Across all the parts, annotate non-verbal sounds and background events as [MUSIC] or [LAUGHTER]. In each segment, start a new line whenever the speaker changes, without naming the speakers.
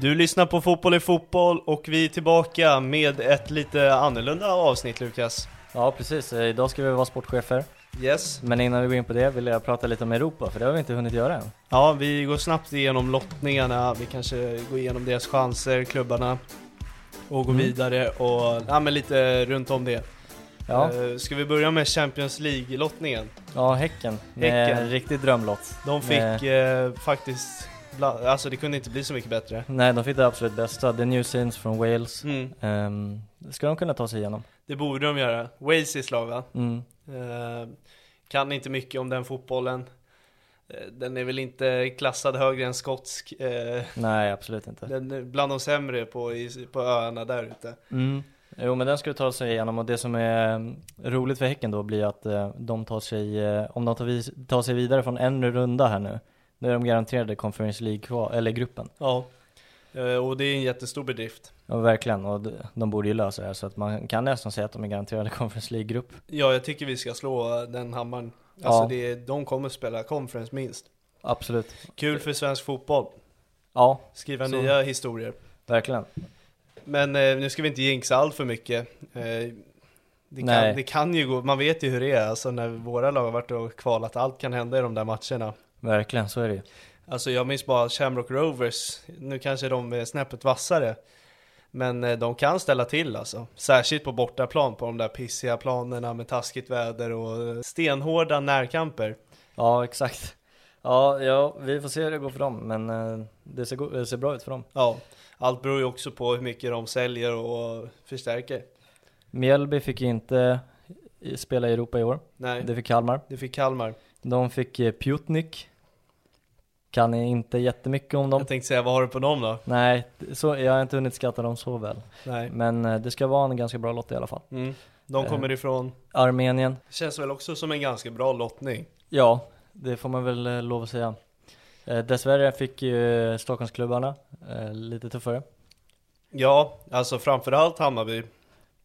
Du lyssnar på Fotboll i fotboll och vi är tillbaka med ett lite annorlunda avsnitt Lukas.
Ja precis, Eh, idag ska vi vara sportchefer.
Yes.
Men innan vi går in på det vill jag prata lite om Europa, för det har vi inte hunnit göra än.
Ja, vi går snabbt igenom lottningarna, vi kanske går igenom deras chanser, klubbarna och går vidare och ja, men lite runt om det.
Ja,
Eh, Ska vi börja med Champions League-lottningen?
ja Häcken. Med
Häcken.
en riktig drömlott.
De
Med-
fick eh, faktiskt, bla- alltså det kunde inte bli så mycket bättre.
Nej, de fick det absolut bästa. The New Scenes från Wales.
Mm,
Ehm, ska de kunna ta sig igenom?
det borde de göra. Wales är slag va?
Mm.
Eh, Kan inte mycket om den fotbollen. Eh, Den är väl inte klassad högre än skotsk.
[LAUGHS]
eh,
Nej, absolut inte.
Den är bland de sämre på, i- på öarna där ute.
Mm. Jo, men den ska ta sig igenom och det som är eh, roligt för Häcken då blir att eh, de tar sig, eh, om de tar, vis- tar sig vidare från en runda här nu, då är de garanterade Conference League kvar, eller gruppen.
Ja. Eh, Och det är en jättestor bedrift.
Ja, verkligen. Och de- de borde ju lösa det här, så att man kan nästan säga att de är garanterade [LAUGHS] Conference League-grupp.
Ja, jag tycker vi ska slå den hammaren. Alltså
Ja.
det är, de kommer spela conference minst.
Absolut.
Kul för svensk fotboll.
Ja,
Skriva
Så.
nya historier.
verkligen.
Men eh, nu ska vi inte jinxa allt för mycket. Eh, det,
Nej.
kan, det kan ju gå, man vet ju hur det är alltså när våra lag har varit och kvalat, allt kan hända i de där matcherna.
Verkligen, så är det ju.
Alltså jag minns bara Shamrock Rovers, nu kanske de är snäppet vassare. Men eh, de kan ställa till alltså. Särskilt på bortaplan på de där pissiga planerna med taskigt väder och eh, stenhårda närkamper.
Ja, exakt. Ja, ja, vi får se hur det går för dem, men eh, det ser, go- det ser bra ut för dem.
Ja, allt beror ju också på hur mycket de säljer och förstärker.
Mjällby fick ju inte i- spela i Europa i år.
Nej,
Det fick Kalmar.
det fick Kalmar.
De fick eh, Pjutnik. Kan inte jättemycket om dem.
Jag tänkte säga, vad har du på dem då?
Nej, så, jag har inte hunnit skatta dem så väl.
Nej.
Men eh, det ska vara en ganska bra lott i alla fall.
Mm. De kommer ifrån,
Armenien.
känns väl också som en ganska bra lottning.
Ja, det får man väl eh, lov att säga. Eh, dessvärre fick ju Stockholmsklubbarna eh, lite tuffare.
Ja, alltså framförallt Hammarby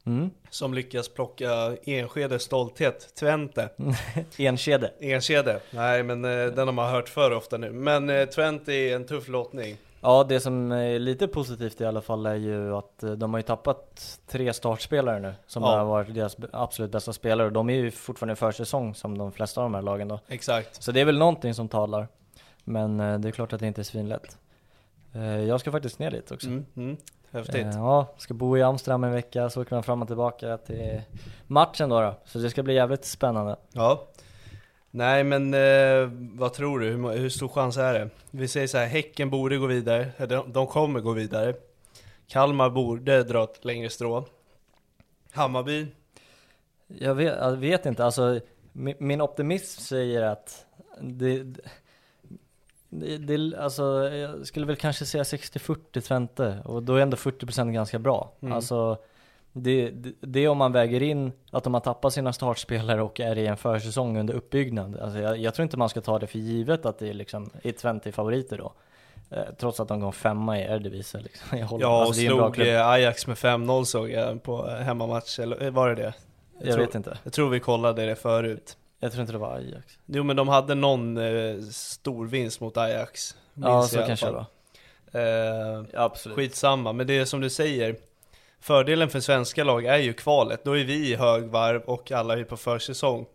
Mm.
som lyckas plocka Enskedes stolthet, Twente.
Mm. Enskede.
Enskede? Nej, men eh, den har man hört för ofta nu. Men eh, Twente är en tuff lottning.
Ja, det som är lite positivt i alla fall är ju att eh, de har ju tappat tre startspelare nu som
Ja.
har varit deras b- absolut bästa spelare och de är ju fortfarande i försäsong som de flesta av de här lagen då.
Exakt.
Så det är väl någonting som talar. Men eh, det är klart att det inte är svinlätt. Eh, Jag ska faktiskt ner dit också.
Mm. Mm. Häftigt.
Eh, Ja, ska bo i Amsterdam en vecka, så åker man fram och tillbaka till matchen då. då. Så det ska bli jävligt spännande.
Ja. Nej, men eh, vad tror du? Hur, må- hur stor chans är det? Vi säger så här, Häcken borde gå vidare. Eh, De, de kommer gå vidare. Kalmar borde dra ett längre strå. Hammarby?
Jag vet, jag vet inte, alltså min, min optimism säger att det, Det, det, alltså, jag skulle väl kanske säga 60-40 Twente och då är ändå 40% ganska bra.
Mm.
Alltså, det, det, det är om man väger in att de har tappat sina startspelare och är i en försäsong under uppbyggnad. Alltså, jag, jag tror inte man ska ta det för givet att det är, liksom, är Twente favoriter då. Eh, trots att de kom femma i Eredivisie. Liksom. [LAUGHS] Jag håller-
Ja, och
alltså, det är en bra
slog
klubb.
eh, Ajax med 5-0 såg jag på eh, hemmamatch, eller eh, var det det?
Jag
tror-
vet inte.
Jag tror vi kollade det förut.
Jag tror inte det var Ajax.
Jo men de hade någon eh, stor vinst mot Ajax.
ja,
minns
så
jag i alla
kanske det
fall.
var.
Eh,
Absolut.
Skitsamma, men det är som du säger Fördelen för svenska lag är ju kvalet, då är vi i högvarv och alla är på försäsong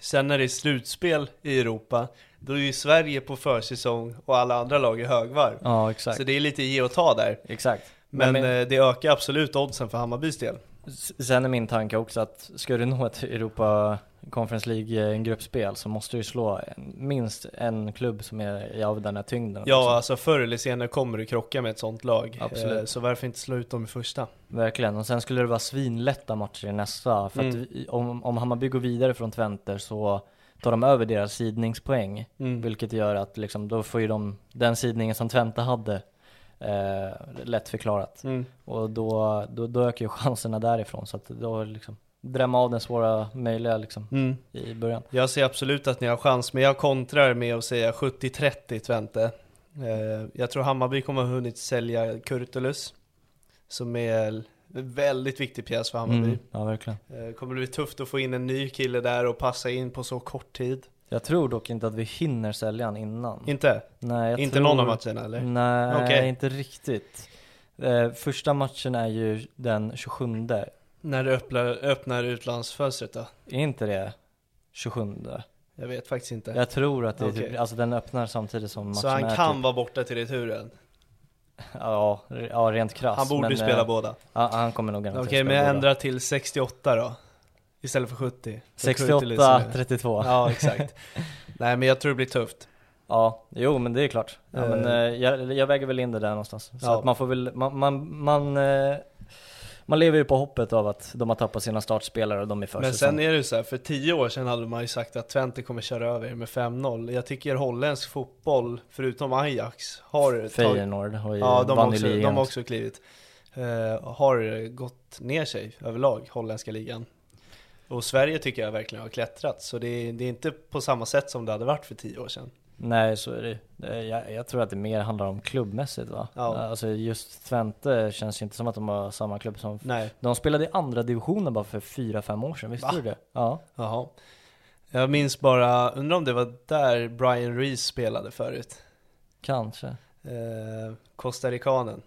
Sen när det är slutspel i Europa, då är ju Sverige på försäsong och alla andra lag i högvarv
Ja, exakt.
Så det är lite ge och ta där
Exakt.
Men,
Men, men
eh, det ökar absolut oddsen för Hammarbys del
s- sen är min tanke också att ska du nå ett Europa Conference League eh, en gruppspel så måste du slå en, minst en klubb som är i- av den här tyngden.
Ja,
liksom.
alltså förr eller senare kommer du krocka med ett sånt lag
Absolut.
Eh, Så varför inte slå ut dem i första?
Verkligen. Och sen skulle det vara svinlätta matcher i nästa. För att
Mm.
vi, om, om Hammarby går vidare från Twente så tar de över deras sidningspoäng.
Mm.
Vilket gör att liksom, då får ju de den sidningen som Twente hade eh, lätt förklarat.
Mm.
Och då, då, då ökar ju chanserna därifrån. Så att då liksom drämma av den svåra möjliga liksom,
Mm.
i början.
Jag ser absolut att ni har chans, men jag kontrar med att säga 70-30 Twente. Eh, jag tror Hammarby kommer ha hunnit sälja Kurtulus, som är en väldigt viktig pjäs för Hammarby.
Ja, verkligen.
Eh, kommer det bli tufft att få in en ny kille där och passa in på så kort tid?
Jag tror dock inte att vi hinner sälja han innan.
Inte?
Nej, jag
inte
tror... Mm.
någon av matcherna eller?
Nej,
Okej.
inte riktigt. Eh, första matchen är ju den 27. Är
När det öppnar, öppnar utlandsfönstret då?
inte det 27?
Jag vet faktiskt inte.
Jag tror att det är typ,
Okej.
alltså den öppnar samtidigt som matchen
så
är
han kan
typ,
vara borta till returen?
ja, re- ja, rent krasst.
Han borde
men,
ju spela
eh,
båda.
ja, Han kommer nog
Okej,
garanterat
men jag
båda.
ändrar till 68 då. Istället för 70. För Kurtulus är-
68, 32.
Ja, exakt. Nej, men jag tror det blir tufft.
[LAUGHS] Ja, jo men det är klart. Ja,
Eh.
men, eh, jag, jag väger väl in det där någonstans. Så
Ja.
att man får väl, man, man, man, eh, man lever ju på hoppet av att de har tappat sina startspelare och de är
Men sen
försäsong.
är det ju så här, för tio år sedan hade man ju sagt att Twente kommer köra över er med 5-0. Jag tycker holländsk fotboll, förutom Ajax, har tagit...
Feyenoord har ju
Ja, de har
vann i
också, de
ligan.
har också klivit. Eh, har gått ner sig överlag, holländska ligan. Och Sverige tycker jag verkligen har klättrat, så det är, det är inte på samma sätt som det hade varit för tio år sedan.
Nej så är det ju. Eh, jag, jag tror att det mer handlar om klubbmässigt va?
Ja.
Alltså just Twente känns ju inte som att de har samma klubb som
Nej,
de spelade i andra divisionen bara för 4-5 år sedan, visste
Va?
du det? Ja.
jaha. Jag minns bara, undrar om det var där Brian Reese spelade förut.
Kanske.
Eh, Costa-ricanen.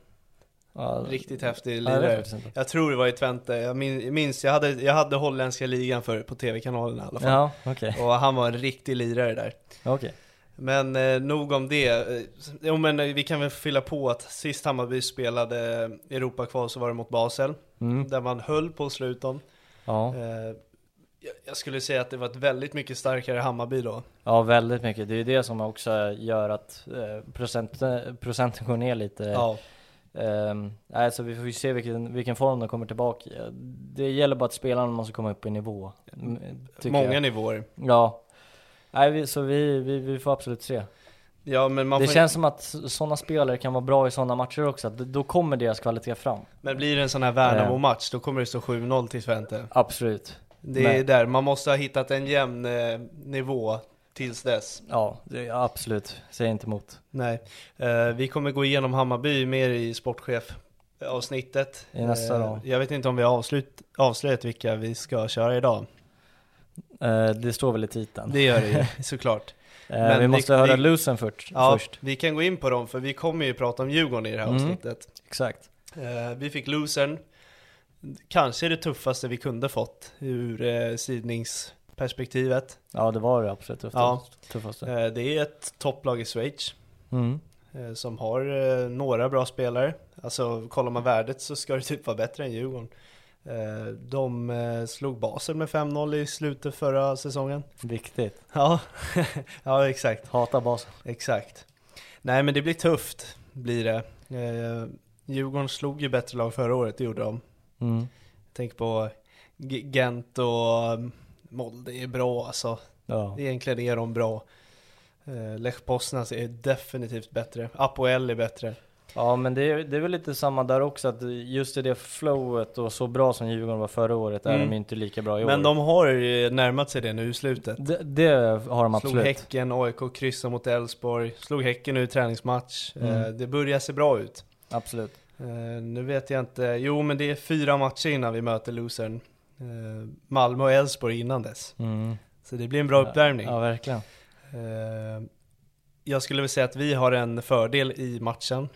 Ja,
Riktigt häftig
ja, jag vet
lirare.
faktiskt inte.
Jag tror det var i Twente, jag min- minns, jag hade, jag hade holländska ligan för på tv-kanalen i alla fall.
Ja, okej.
Och han var en riktig lirare där.
Okej.
Men eh, nog om det. Eh, Jo men eh, vi kan väl fylla på att sist Hammarby spelade eh, Europa-kval så var det mot Basel,
Mm.
där man höll på att slå ut dem.
Ja.
Eh, jag- jag skulle säga att det var ett väldigt mycket starkare Hammarby då.
Ja, väldigt mycket. Det är ju det som också gör att eh, procent, eh, procenten går ner lite.
Ja.
Ehm, nej, så vi får ju se vilken, vilken form de kommer tillbaka i. Det gäller bara att spelarna måste komma upp i nivå. mm, tycker
Många
jag.
nivåer.
Ja. Nej, vi, så vi, vi, vi får absolut se.
Ja, men, man
det
får,
känns som att sådana spelare kan vara bra i sådana matcher också. att Då kommer deras kvalitet fram.
men blir det en sån här Värnamo-match, då kommer det stå 7-0 till Twente.
Absolut.
Det är
Men-
där, man måste ha hittat en jämn eh, nivå tills dess.
Ja, det, absolut. Säg inte emot.
Nej, eh, vi kommer gå igenom Hammarby mer i sportchef-avsnittet.
I nästa dag.
jag vet inte om vi har avslut, avslöjat vilka vi ska köra idag.
Eh, det står väl i titeln.
Det gör det
[LAUGHS]
ju, såklart.
Eh,
men
vi
det-
måste höra
det-
Lusen först.
Ja,
först.
vi kan gå in på dem, för vi kommer ju prata om Djurgården i det här
Mm.
avsnittet.
Exakt.
Eh, vi fick losern, kanske det tuffaste vi kunde fått ur eh, sidningsperspektivet.
Ja, det var det absolut tuffaste.
Ja.
tuffaste.
Eh, det är ett topplag i Schweiz.
Mm.
eh, Som har eh, några bra spelare. Alltså kollar man värdet så ska det typ vara bättre än Djurgården. Eh, De eh, slog Basel med 5-0 i slutet förra säsongen. [LAUGHS]
Viktigt.
Ja, [LAUGHS] ja exakt,
Hata basen.
exakt. Nej men det blir tufft, blir det. Eh, Djurgården slog ju bättre lag förra året, det gjorde de.
Mm.
Tänk på G- Gent och eh, Molde är bra alltså.
Ja.
Egentligen är de bra. Eh, Lech Poznan är definitivt bättre. Apoel är bättre.
Ja men det är, det är väl lite samma där också att just i det flowet och så bra som Djurgården var förra året är
Mm.
de ju inte lika bra i år.
Men de har ju närmat sig det nu i slutet.
det, det har de
Slog
absolut.
Häcken, AIK kryssade mot Elfsborg, slog Häcken nu i träningsmatch.
Mm.
Eh, Det börjar se bra ut.
Absolut.
Eh, Nu vet jag inte, jo men det är fyra matcher innan vi möter losern. Eh, Malmö och Elfsborg innan dess.
Mm.
Så det blir en bra uppvärmning.
Ja verkligen.
Eh, Jag skulle väl säga att vi har en fördel i matchen.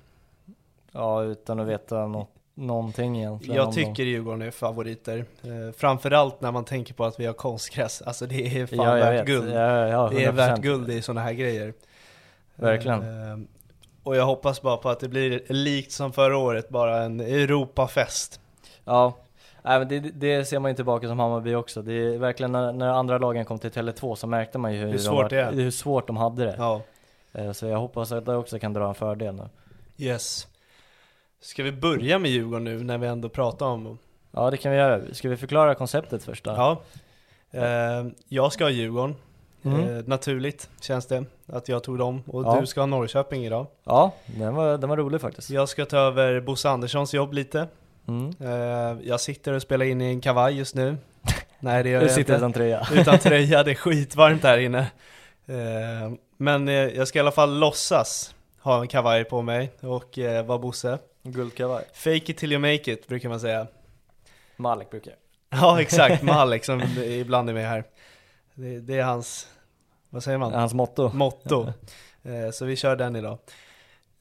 Ja utan att veta nå- någonting egentligen. om
Jag
dem.
tycker Djurgården är favoriter. Eh, Framförallt när man tänker på att vi har konstgräs. Alltså det är fan
ja, jag
värt
vet.
guld.
Ja, ja,
Det är
100%.
värt guld i sådana här grejer.
Verkligen.
Eh, Och jag hoppas bara på att det blir likt som förra året, bara en Europafest.
Ja, Nej, men det, det ser man ju tillbaka som Hammarby också. Det är verkligen när, när andra lagen kom till Tele2 så märkte man ju hur,
Hur
de
svårt
var,
det är.
hur svårt de hade det.
Ja,
Eh, Så jag hoppas att det också kan dra en fördel nu.
yes. Ska vi börja med Djurgården nu när vi ändå pratar om dem?
Ja, det kan vi göra. Ska vi förklara konceptet först då?
Ja. Eh, Jag ska ha Djurgården.
Mm.
Eh, Naturligt känns det att jag tog dem och
Ja.
du ska ha Norrköping idag.
Ja, den var, den var rolig faktiskt.
Jag ska ta över Bosse Anderssons jobb lite.
Mm.
Eh, Jag sitter och spelar in i en kavaj just
[LAUGHS]
nu. Nej det gör
Du
jag
sitter
inte.
utan tröja.
utan tröja, det är skitvarmt här inne. Eh, Men eh, jag ska i alla fall låtsas ha en kavaj på mig och eh, vara Bosse.
Guldkavaj.
Fake it till you make it brukar man säga.
Malik brukar
Ja exakt, med Alex som ibland är med här. Det, det är hans, vad säger man?
Hans motto.
Motto. Eh, Så vi kör den idag.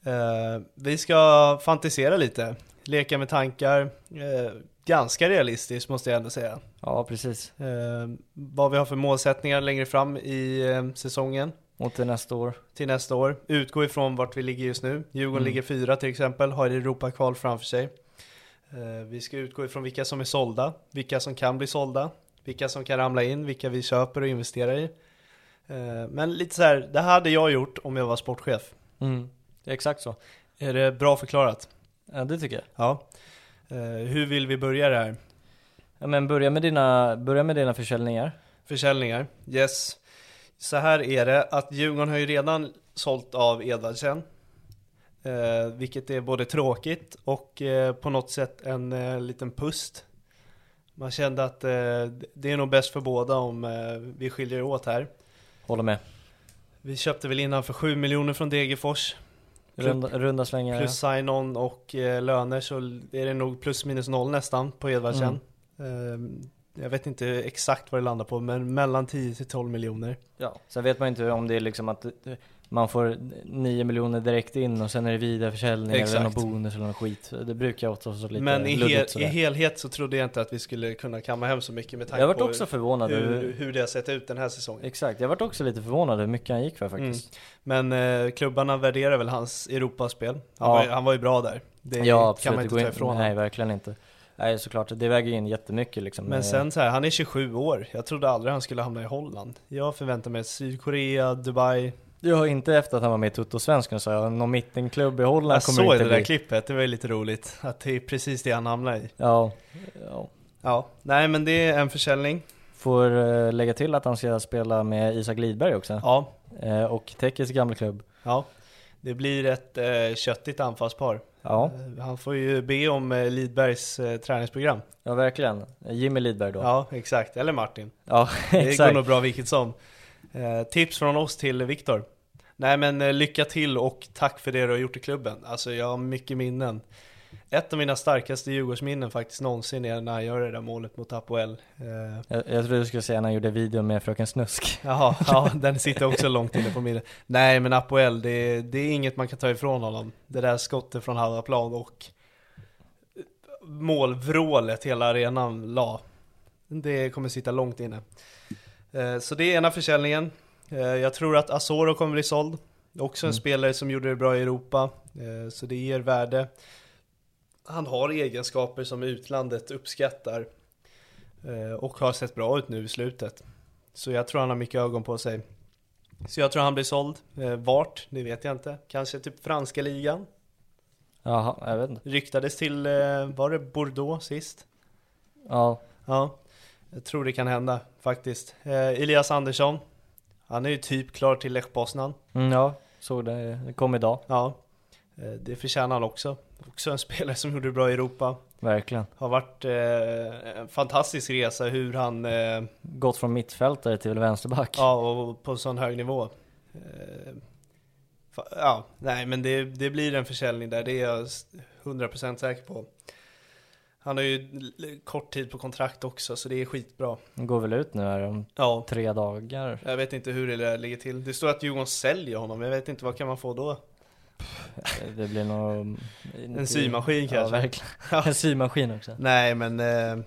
Eh, Vi ska fantisera lite, leka med tankar. Eh, Ganska realistiskt måste jag ändå säga.
Ja, precis.
Eh, Vad vi har för målsättningar längre fram i eh, säsongen.
Och till nästa år.
till nästa år. Utgå ifrån vart vi ligger just nu. Djurgården
Mm.
ligger fyra till exempel, har Europa-kval framför sig. Eh, Vi ska utgå ifrån vilka som är sålda, vilka som kan bli sålda, vilka som kan ramla in, vilka vi köper och investerar i. Eh, Men lite så här, det här hade jag gjort om jag var sportchef.
Mm. Exakt så.
Är det bra förklarat?
Ja, det tycker jag.
Ja. Eh, Hur vill vi börja det här?
Ja, Men börja med dina, börja med dina försäljningar.
Försäljningar, yes. Så här är det att Djurgården har ju redan sålt av Edvardsen. Eh, vilket är både tråkigt och eh, på något sätt en eh, liten pust. Man kände att eh, det är nog bäst för båda om eh, vi skiljer åt här.
Håller med.
Vi köpte väl innan för 7 miljoner från Degerfors.
Runda, runda slängar.
Plus sign-on och eh, löner så är det nog plus minus noll nästan på Edvardsen. Eh, jag vet inte exakt vad det landar på men mellan 10 till 12 miljoner.
Ja, sen vet man ju inte om det är liksom att eh, man får 9 miljoner direkt in och sen är det vidareförsäljning eller
Exakt.
någon bonus eller någon skit. Det brukar jag också vara så lite
Men i, hel,
luddigt
i
sådär.
helhet så trodde jag inte att vi skulle kunna kamma hem så mycket med
Jag
tanke
vart
på
också förvånad.
hur,
över-
hur det har sett ut den här säsongen.
Exakt, jag vart också lite förvånad hur mycket han gick för faktiskt.
Men eh, klubbarna värderar väl hans Europaspel. Han,
Ja.
var, ju- han var ju bra där. Det
ja,
kan man
det
inte
går
ta ifrån
Nej,
honom.
verkligen inte. Nej, såklart. Det väger ju in jättemycket liksom. Eh,
Men sen så här, han är 27 år. Jag trodde aldrig han skulle hamna i Holland. Jag förväntar mig Sydkorea, Dubai.
Ja, inte efter att han var med i Toto-svensken så jag, någon mittenklubb i Holland
Jag
kommer
såg
inte
det där
bli.
klippet, det var ju lite roligt. Att det är precis det han hamnar i.
Ja, ja.
Ja, nej men det är en försäljning.
Får eh, lägga till att han ska spela med Isak Lidberg också.
Ja,
Eh, och Tekis gamla klubb.
ja. Det blir ett eh, köttigt anfallspar.
Ja,
Eh, Han får ju be om eh, Lidbergs eh, träningsprogram.
ja verkligen. Jimmy Lidberg då.
Ja, exakt. Eller Martin.
Ja, [LAUGHS]
Det går
exakt.
nog bra vilket som. Eh, tips från oss till Viktor. Nej men eh, lycka till och tack för det du har gjort i klubben. Alltså jag har mycket minnen. Ett av mina starkaste Djurgårdsminnen faktiskt någonsin är när jag gör det där målet mot Apoel. Eh,
Jag, jag trodde du skulle säga när han gjorde videon med Fröken Snusk. [LAUGHS]
jaha, ja, den sitter också långt inne på minnet. Nej men Apoel, det, är- det är inget man kan ta ifrån honom. Det där skottet från halva plan och målvrålet hela arenan la. Det kommer sitta långt inne. Eh, Så det är ena försäljningen. Eh, Jag tror att Asoro kommer bli såld. Också en
Mm.
spelare som gjorde det bra i Europa, eh, så det ger värde. Han har egenskaper som utlandet uppskattar eh, och har sett bra ut nu i slutet. Så jag tror han har mycket ögon på sig. Så jag tror han blir såld. Eh, Vart? Det vet jag inte. Kanske typ franska ligan?
Jaha, jag vet inte.
Ryktades till, eh, var det Bordeaux sist?
Ja,
Ja, jag tror det kan hända faktiskt. Eh, Elias Andersson Han är ju typ klar till Lech Poznan.
Mm, ja, såg det. Det kom idag.
Ja, eh, det förtjänar han också. Också en spelare som gjorde det bra i Europa.
Verkligen.
Har varit eh, en fantastisk resa hur han, eh,
Gått från mittfältare till vänsterback.
ja och på sån hög nivå. Eh, fa- ja, nej men det, det blir en försäljning där, det är jag s- 100% säker på. Han har ju l- kort tid på kontrakt också så det är skitbra.
Den Går väl ut nu här om
Ja.
tre dagar.
Jag vet inte hur det där ligger till. Det står att Djurgården säljer honom, jag vet inte vad kan man få då?
Det blir nog...
En symaskin
Mm, Ja,
kanske?
verkligen.
[LAUGHS] Ja.
[LAUGHS] En symaskin också.
Nej men eh,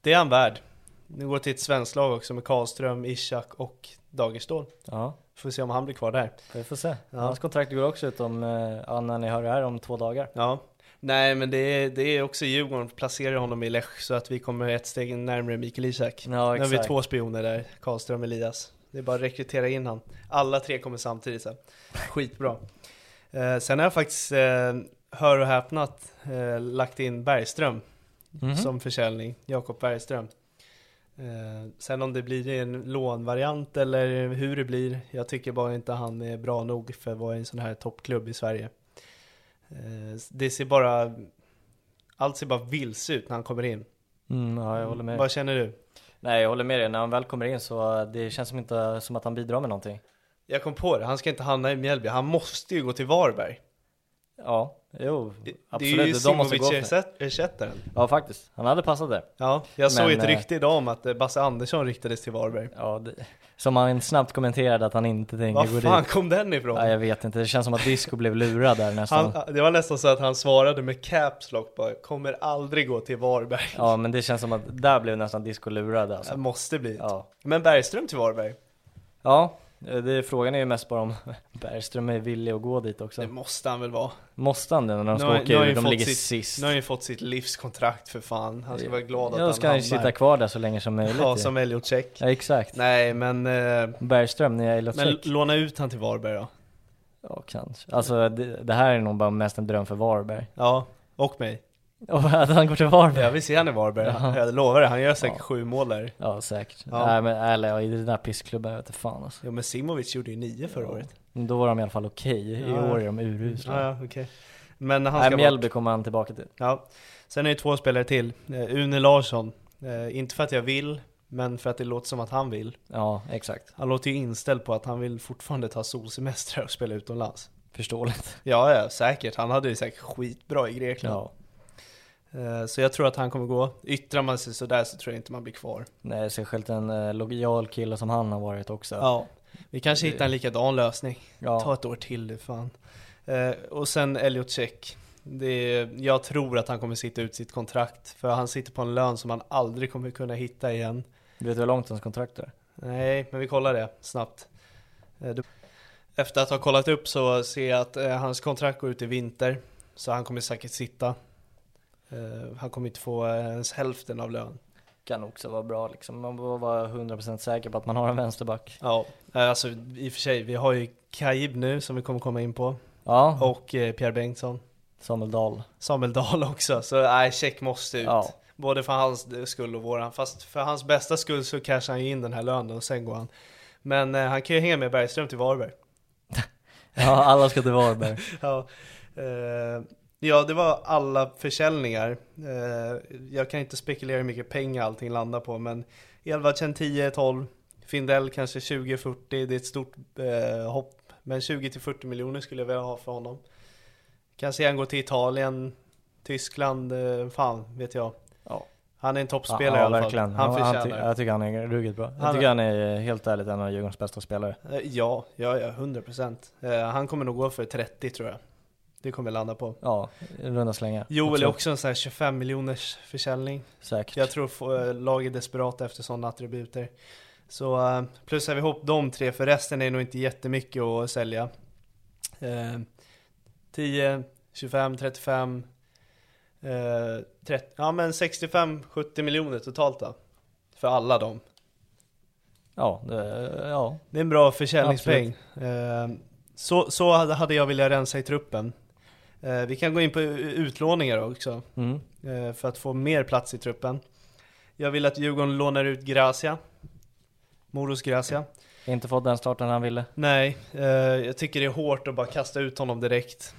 det är han värd. Nu går det till ett svenskt lag också med Karlström, Ishak och Dagerstål.
Ja,
Får se om han blir kvar där.
vi får se. Hans kontrakt går också ut om, eh, ja, när ni hör det här, om två dagar.
Ja. Nej men det är, det är också Djurgården placerar honom i Lech så att vi kommer ett steg närmare Mikael Ishak.
Ja,
nu har vi
exakt.
två spioner där, Karlström och Elias. Det är bara att rekrytera in han. Alla tre kommer samtidigt sen. Skitbra. Eh, sen har jag faktiskt, eh, hör och häpnat, eh, lagt in Bergström
Mhm.
som försäljning, Jakob Bergström. Eh, sen om det blir en lånvariant eller hur det blir, jag tycker bara inte han är bra nog för att vara i en sån här toppklubb i Sverige. Eh, det ser bara, allt ser bara vilse ut när han kommer in.
Mm, ja, jag håller med.
Vad känner du?
Nej, jag håller med dig. När han väl kommer in så eh, det känns som, inte, som att han bidrar med någonting.
Jag kom på det, han ska inte hamna i Mjällby, han måste ju gå till Varberg.
Ja, jo,
Det,
absolut.
det är ju
De måste gå för-
Simovic-ersättaren.
Ja, faktiskt. Han hade passat det.
Ja, jag såg
Men,
ett
eh,
rykte idag om att eh, Basse Andersson ryktades till Varberg.
Ja, det, som han snabbt kommenterade att han inte tänker gå
Var fan
dit.
kom den ifrån?
Ja, jag vet inte, det känns som att Disco blev lurad där nästan.
Han, det var nästan så att han svarade med caps lock bara, kommer aldrig gå till Varberg.
Ja, men det känns som att där blev nästan Disco lurad alltså.
Måste bli.
Ja.
Men Bergström till Varberg,
ja, eh, det, frågan är ju mest bara om [LAUGHS] Bergström är villig att gå dit också.
det måste han väl vara.
Måste han det när de
Nu
ska
har- nu
åka
har han
ur? De
fått
ligger
sitt,
sist.
Nu har han ju fått sitt livskontrakt för fan. Han ska vara glad att
Ja, då
han
ska han ju sitta kvar där så länge som möjligt.
Ja,
Ja,
som Elliot Check.
ja exakt.
Nej, men, eh,
Bergström, nya Elliot
men
Check.
låna ut han till Varberg då.
Ja, kanske. Alltså det, det här är nog bara mest en dröm för Varberg. [LAUGHS]
Ja, och mig.
Och att han går till Varberg.
Jag vill se han i Varberg, jag lovar det. Han gör säkert sju mål där.
Ja säkert.
Ja.
Nej men ärligt, i den där pissklubben jag vete fan alltså.
Jo men Simovic gjorde ju nio förra året.
Men Då var de i alla fall okej, i
Ja.
år är de urusla.
Ja, ja okej. Men han
Nej
ska bort.
Mjällby kommer han tillbaka till.
Ja. Sen är det två spelare till. Eh, Une Larsson. Eh, inte för att jag vill, men för att det låter som att han vill.
Ja exakt,
Han låter ju inställd på att han vill fortfarande ta solsemestrar och spela utomlands.
förståeligt.
Ja, ja säkert. Han hade ju säkert skitbra i Grekland.
Ja.
Eh, så jag tror att han kommer gå. Yttrar man sig sådär så tror jag inte man blir kvar.
Nej särskilt en eh, lojal kille som han har varit också.
Ja. Vi kanske hittar en likadan lösning.
Ja.
Ta ett år till du fan. Eh, och sen Elliot Check. Det är, jag tror att han kommer sitta ut sitt kontrakt. För han sitter på en lön som han aldrig kommer kunna hitta igen.
Vet du hur långt hans kontrakt är?
Nej, men vi kollar det snabbt. Eh, du- Efter att ha kollat upp så ser jag att eh, hans kontrakt går ut i vinter. Så han kommer säkert sitta. Eh, han kommer inte få eh, ens hälften av lön.
Kan också vara bra liksom, man behöver vara 100% säker på att man har en vänsterback.
Ja, eh, alltså i och för sig, vi har ju Kaib nu som vi kommer komma in på.
Ja,
Och eh, Pierre Bengtsson.
Samuel Dahl.
Samuel Dahl också, så nej, check måste ut.
Ja.
Både för hans skull och våran. Fast för hans bästa skull så cashar han ju in den här lönen och sen går han. Men eh, han kan ju hänga med Bergström till Varberg.
Ja, alla ska
[LAUGHS]
till Varberg.
Ja, eh, ja, det var alla försäljningar. Eh, jag kan inte spekulera hur mycket pengar allting landar på, men Elvardsen 10, 12, Findell kanske 20, 40. Det är ett stort eh, hopp, men 20 till 40 miljoner skulle jag vilja ha för honom. Kanske han går till Italien, Tyskland, eh, fan vet jag.
Ja.
Han är en toppspelare
ja,
i alla fall.
verkligen.
Han
Ja, ty-
förtjänar det.
jag tycker han är ruggigt bra.
Han-
Jag tycker han är eh, helt ärligt en av Djurgårdens bästa spelare.
Eh, Ja, ja, ja, 100 procent. Eh, Han kommer nog gå för 30 tror jag. Det kommer landa på.
Ja, i runda slängar.
Joel är
Absolut.
också en sån här 25 miljoners försäljning.
Säkert.
Jag tror få- eh, lag är desperata efter sådana attributer. Så eh, plussar vi ihop de tre, för resten är nog inte jättemycket att sälja. Eh, 10, 25, 35, eh, 30, ja men 65-70 miljoner totalt då. För alla dem.
Ja, det, eh, ja.
Det är en bra försäljningspeng. Eh, Så, så hade hade jag velat rensa i truppen. Eh, Vi kan gå in på u- utlåningar också.
Mm.
eh, för att få mer plats i truppen. Jag vill att Djurgården lånar ut Gracia, Moros Gracia.
Inte fått den starten han ville.
Nej, eh, jag tycker det är hårt att bara kasta ut honom direkt.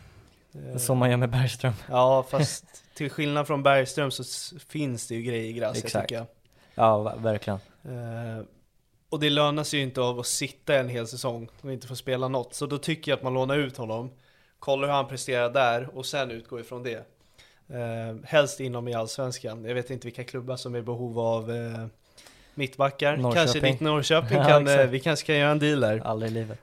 Eh,
Som man gör med Bergström.
Ja, fast till skillnad från Bergström så s- finns det ju grejer i gräset
Exakt.
tycker jag.
Ja, ver- verkligen.
Eh, och det lönar sig ju inte av att sitta en hel säsong och inte få spela något. Så då tycker jag att man lånar ut honom, kollar hur han presterar där och sen utgår ifrån det. Eh, helst inom i Allsvenskan. Jag vet inte vilka klubbar som är i behov av eh, mittbackar. Kanske
Norrköping.
ditt Norrköping
[LAUGHS] Ja,
kan, eh,
exakt.
vi kanske kan göra en deal där.
Aldrig i livet.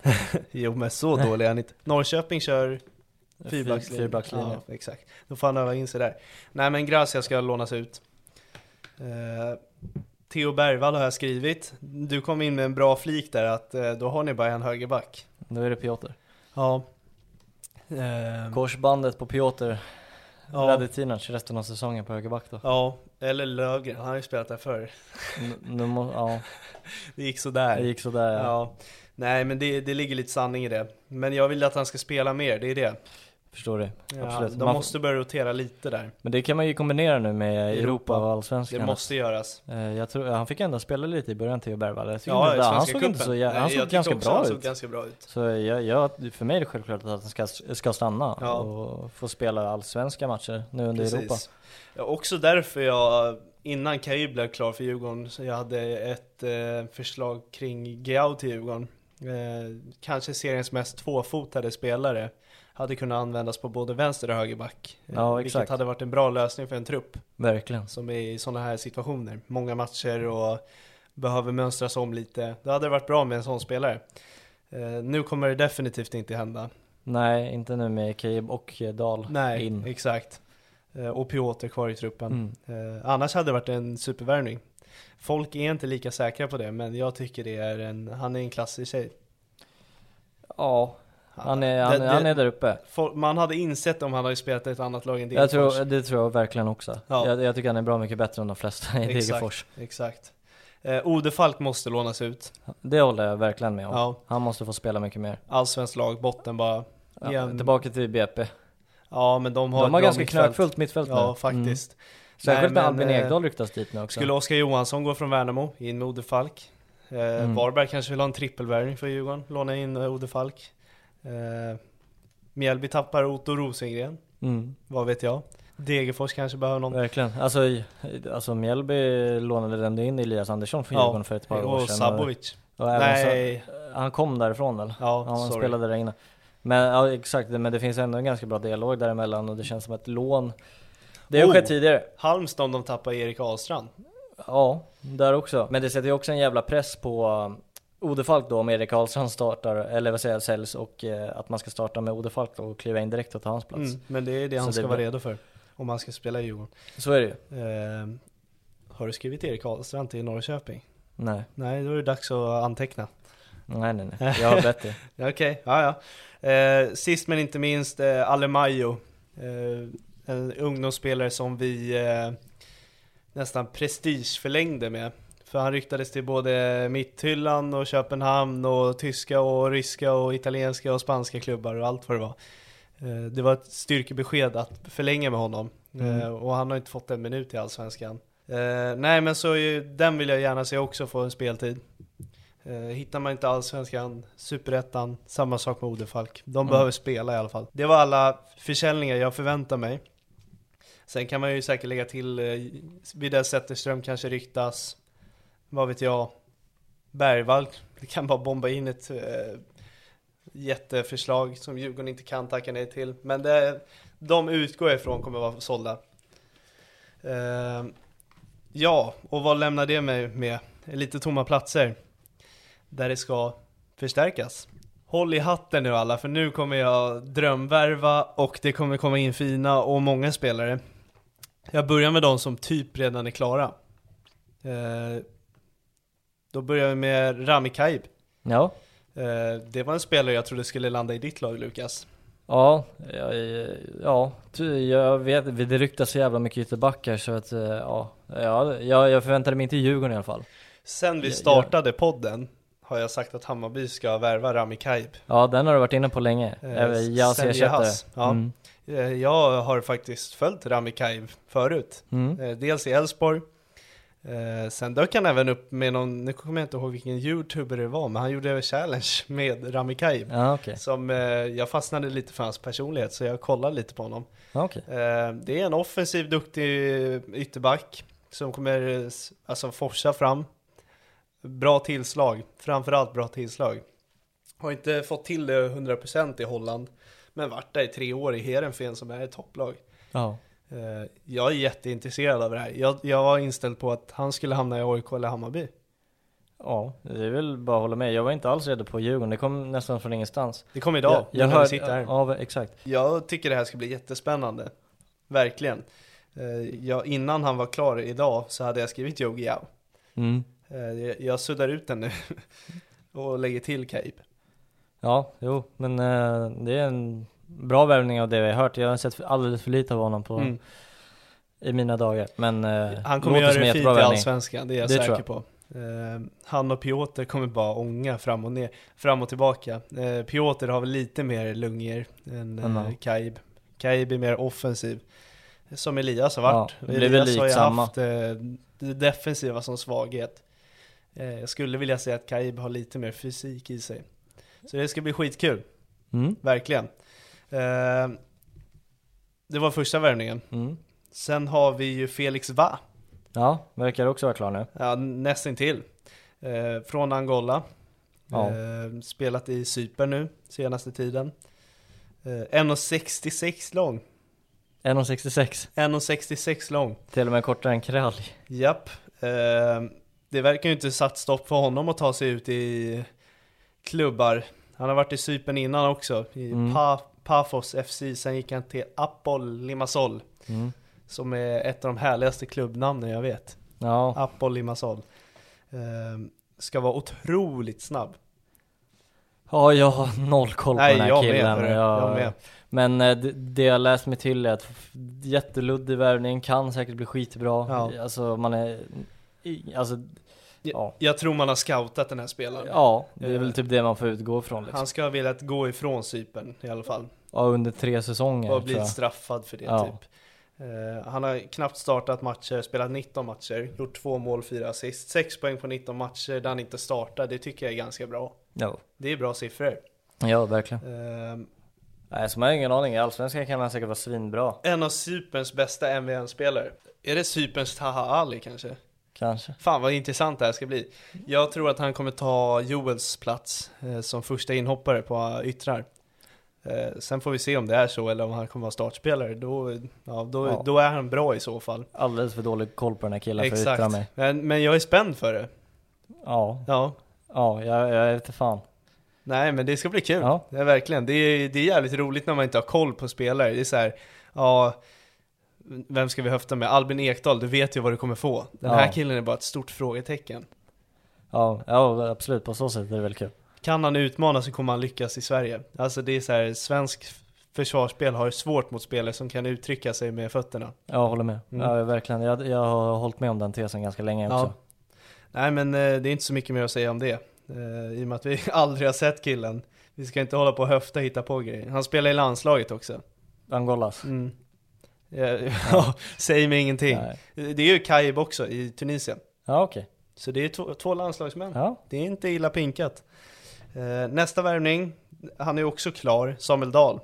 Jo men så dålig är han inte. Norrköping kör [LAUGHS] fyrbackslinje.
Fyrbackslinje.
Ja, exakt. Då får han öva in sig där. Nej men Gracia ska lånas ut. Eh, Theo Bergvall har jag skrivit. Du kom in med en bra flik där att eh, då har ni bara en högerback.
Då är det Piotr.
Ja. Eh,
Korsbandet på Piotr
ja.
Radetinac resten av säsongen på högerback
[LAUGHS]
då.
ja. Eller Lövgren, han har ju spelat där förr.
N- nu må, ja,
Det gick sådär.
det gick sådär. Ja.
Ja. Nej men det, det ligger lite sanning i det. Men jag vill att han ska spela mer, det är det.
Förstår du?
Ja,
Absolut.
de
Man-
måste börja rotera lite där.
Men det kan man ju kombinera nu med Europa,
Europa.
och
Det
Allsvenskan.
måste göras.
Eh, Jag tror, han fick ändå spela lite i början till Bergvall. Jag tycker
Ja,
inte-
i Svenska
han såg inte
cupen.
så jä-
Nej,
han
jag
såg
tyckte
ganska
också
bra
han såg
ut.
ganska bra ut.
Så jag, jag, för mig är det självklart att han ska, ska stanna
Ja.
och få spela allsvenska matcher nu under Europa.
Precis. Ja, också därför jag, innan Cahill blev klar för Djurgården, så jag hade ett eh, förslag kring Giao till Djurgården. Eh, kanske seriens mest tvåfotade spelare. Hade kunnat användas på både vänster och högerback. Eh,
Ja,
vilket
exakt.
hade varit en bra lösning för en trupp
Verkligen.
som är i sådana här situationer. Många matcher och behöver mönstras om lite. Det hade varit bra med en sån spelare. Eh, nu kommer det definitivt inte hända.
Nej, inte nu med Kib och eh, Dahl
Nej,
in.
exakt. Eh, Och Piotr kvar i truppen.
Mm.
Eh, Annars hade det varit en supervärvning. Folk är inte lika säkra på det, men jag tycker det är en, han är en klass i sig.
Ja, han är, han,
Det- det-
han är där uppe.
Folk- Man hade insett om han hade spelat i ett annat lag än
Jag
Degerfors.
tror, det tror jag verkligen också.
Ja.
Jag, jag tycker han är bra mycket bättre än de flesta i
Exakt.
Degerfors.
Exakt. Eh, Ode Falk måste lånas ut.
Det håller jag verkligen med om.
Ja.
Han måste få spela mycket mer.
Allsvenskt lag, botten bara.
Ja,
Igen.
Tillbaka till BP.
Ja, men de har,
De
ett
har
bra
ganska
mittfält.
knökfullt mittfält nu.
Ja, faktiskt.
Mm. Särskilt
Nej,
när
men,
Albin
eh,
Ekdal ryktas dit nu också.
Skulle Oskar Johansson gå från Värnamo in med Ode Falk? Eh,
Mm.
Varberg kanske vill ha en trippelvärvning för Djurgården, låna in eh, Ode Falk. Eh, Mjällby tappar Otto Rosengren,
Mm,
vad vet jag. Degerfors kanske behöver någon.
verkligen. Alltså, i- alltså Mjällby lånade den in Elias Andersson från
Ja,
Djurgården för ett par år
och
sedan.
Sabovic.
och även
Nej,
Så, han kom därifrån väl?
ja,
han
sorry.
spelade där inne. Men ja, exakt, men det finns ändå en ganska bra dialog däremellan och det känns som ett lån. Det har
Oh.
skett tidigare.
Halmstad om de tappar Erik Ahlstrand.
Ja, där också. Men det sätter ju också en jävla press på um, Ode Falk då om Erik Karlsson startar, eller vad säger jag, säljs och eh, att man ska starta med Ode Falk då och kliva in direkt och ta hans plats.
Mm, men det är det han
Så
ska
det-
vara redo för, om han ska spela i Djurgården.
Så är det ju.
Eh, har du skrivit Erik Ahlstrand till Norrköping?
Nej,
Nej, då är det dags att anteckna.
nej, nej, nej. jag har bättre.
Ja, Okej, ja ja. Eh, sist men inte minst eh, Alemayo. Eh, en ungdomsspelare som vi eh, nästan prestigeförlängde med. För han ryktades till både Mitthyllan och Köpenhamn och tyska och ryska och italienska och spanska klubbar och allt vad det var. Eh, det var ett styrkebesked att förlänga med honom.
Mm.
Eh, och han har inte fått en minut i Allsvenskan. Eh, nej men så är ju, den vill jag gärna se också få en speltid. Eh, hittar man inte Allsvenskan, Superettan, samma sak med Odefalk. De behöver spela i alla fall. Det var alla försäljningar jag förväntar mig. Sen kan man ju säkert lägga till, eh, Widell Zetterström kanske ryktas, vad vet jag. Bergvall det kan bara bomba in ett eh, jätteförslag som Djurgården inte kan tacka nej till. Men det, de utgår jag ifrån kommer vara sålda. Eh, ja, och vad lämnar det mig med? Lite tomma platser där det ska förstärkas. Håll i hatten nu alla, för nu kommer jag drömvärva och det kommer komma in fina och många spelare. Jag börjar med de som typ redan är klara. Eh, då börjar vi med Rami Kaib.
Ja,
Eh, det var en spelare jag trodde skulle landa i ditt lag Lukas.
ja, ja, ja, ty- jag vet, det ryktas så jävla mycket ytterbackar så att eh, ja, ja, jag, jag förväntade mig inte Djurgården i alla fall.
Sen vi
Ja, ja.
startade podden har jag sagt att Hammarby ska värva Rami Kaib.
Ja, den har du varit inne på länge.
Eh,
Även jag
Sen
ser
Jahas, ja.
Mm.
Eh, Jag har faktiskt följt Rami Kaib förut.
Mm.
Eh, Dels i Elfsborg, Eh, sen dök han även upp med någon, nu kommer jag inte ihåg vilken youtuber det var, men han gjorde en challenge med Rami Kaib.
Ja, okej.
Som, eh, jag fastnade lite för hans personlighet så jag kollade lite på honom.
Ja, okej.
Eh, det är en offensiv, duktig ytterback som kommer eh, s- alltså, forsa fram. Bra tillslag, framförallt bra tillslag. Har inte fått till det 100% i Holland, men varit där i tre år i Heerenveen som är ett topplag.
Ja.
Eh, Jag är jätteintresserad av det här. Jag, jag var inställd på att han skulle hamna i AIK eller Hammarby.
Ja, det är väl bara att hålla med. Jag var inte alls redo på Djurgården, det kom nästan från ingenstans.
Det kom idag,
jag, jag
när
hör-
vi sitter här.
Ja, exakt.
Jag tycker det här ska bli jättespännande. Verkligen. Eh, Jag, innan han var klar idag så hade jag skrivit Yogi Yao.
Mm.
Eh, jag- Jag suddar ut den nu [LAUGHS] och lägger till Cape.
Ja, jo, men eh, det är en bra värvning av det vi har hört. Jag har sett för- alldeles för lite av honom på,
Mm.
i mina dagar. Men eh,
Han kommer
låter
göra
som
det
en
fint i
jättebra värvning.
Allsvenskan, det är jag
Det tror
säker på. Eh, Han och Piotr kommer bara ånga fram och ner, fram och tillbaka. Eh, Piotr har väl lite mer lungor än
Mm,
mm.
ja.
Kaib. Kaib är mer offensiv. Som Elias har varit.
Ja, det blir väl
Elias har ju
likt samma.
haft eh, det defensiva som svaghet. Eh, Jag skulle vilja säga att Kaib har lite mer fysik i sig. Så det ska bli skitkul,
Mm.
verkligen. Eh, Det var första värvningen.
Mm.
Sen har vi ju Felix Va.
Ja, verkar också vara klar nu.
Ja, nästintill. Eh, från Angola.
Ja.
Eh, spelat i Cypern nu senaste tiden. Eh, 1,66 lång.
1,66.
1,66 lång.
Till och med kortare än Kralj.
Japp. Eh, det verkar ju inte satt stopp för honom att ta sig ut i klubbar. Han har varit i Cypern innan också. I
Mm.
pa- Pafos FC. Sen gick han till Apol Limassol.
Mm.
Som är ett av de härligaste klubbnamnen jag vet.
Ja,
Apol Limassol. Eh, ska vara otroligt snabb.
ja, jag har noll koll på
Nej,
den här
jag med,
killen.
hörru. Jag med.
Men eh, det, det jag läst mig till är att f- jätteluddig värvning, kan säkert bli skitbra.
Ja.
Alltså man är... i- Alltså,
Jag,
Ja.
jag tror man har scoutat den här spelaren.
ja, det är väl typ det man får utgå ifrån liksom.
Han ska ha velat gå ifrån Cypern i alla fall.
Ja, under tre säsonger
Och
tror
blivit
jag.
straffad för det
Ja.
typ. Eh, han har knappt startat matcher, spelat 19 matcher, gjort två mål, fyra assist, 6 poäng på 19 matcher där han inte startar. Det tycker jag är ganska bra.
Ja.
Det är bra siffror.
ja, verkligen.
Eh,
Nej, så man har ingen aning. I Allsvenskan kan han säkert vara svinbra.
en av Cyperns bästa MVN-spelare. Är det Cyperns Taha Ali kanske?
Kanske.
Fan vad intressant det här ska bli. Jag tror att han kommer ta Joels plats eh, som första inhoppare på eh, yttrar. Eh, sen får vi se om det är så eller om han kommer vara startspelare. Då, ja, då,
Ja.
då är han bra i så fall.
Alldeles för dålig koll på den här killen för att yttra
Exakt.
mig.
Men, men jag är spänd för det.
Ja,
Ja.
ja, jag, jag vet inte fan.
Nej men det ska bli kul.
Ja.
Det är verkligen. Det är, det är jävligt roligt när man inte har koll på spelare. Det är så här, ja, vem ska vi höfta med? Albin Ekdal, du vet ju vad du kommer få. Den
Ja.
här killen är bara ett stort frågetecken.
Ja, ja, absolut. På så sätt är det väl kul.
Kan han utmana så kommer han lyckas i Sverige. Alltså det är så här, svensk försvarsspel har svårt mot spelare som kan uttrycka sig med fötterna.
Jag håller med.
Mm.
Ja, verkligen. Jag, jag har hållit med om den tesen ganska länge också.
Nej men eh, det är inte så mycket mer att säga om det. Eh, I och med att vi [LAUGHS] aldrig har sett killen. Vi ska inte hålla på och höfta och hitta på grejer. Han spelar i landslaget också.
Angolas.
Mm. Eh, Ja, [LAUGHS] säg mig ingenting.
Nej.
Det är ju Kaib också i Tunisien.
Ja, okej.
Så det är två, två landslagsmän.
Ja.
Det är inte illa pinkat. Eh, Nästa värvning, han är också klar, Samuel Dahl.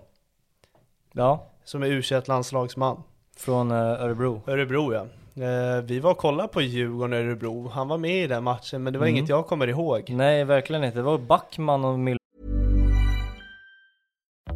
ja,
Som är u landslagsman
från eh, Örebro.
Örebro ja. Eh, vi var och kollade på Djurgården och Örebro, han var med i den matchen men det var
Mm.
inget jag kommer ihåg.
Nej, verkligen inte. Det var Backman och Mil-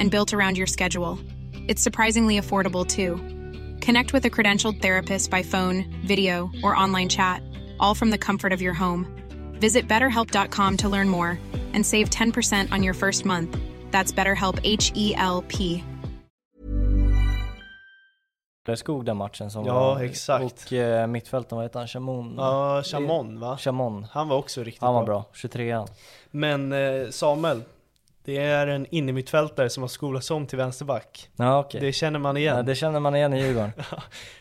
and built around your schedule. It's surprisingly affordable too. Connect with a credentialed therapist by phone, video, or online chat, all from the comfort of your home. Visit betterhelp.com to learn more and save 10% on your first month. That's BetterHelp, H E L P.
Skog den matchen som
Ja,
var,
exakt.
Och eh, mittfältaren, vad heter han? Chamon?
Ja, Chamon va?
Chamon.
Han var också riktigt
Han var
bra.
bra, 23an.
Men eh, Samuel, det är en innermittfältare som har skolats om till vänsterback.
Ja okej.
Det känner man igen.
Ja, det känner man igen i Djurgården.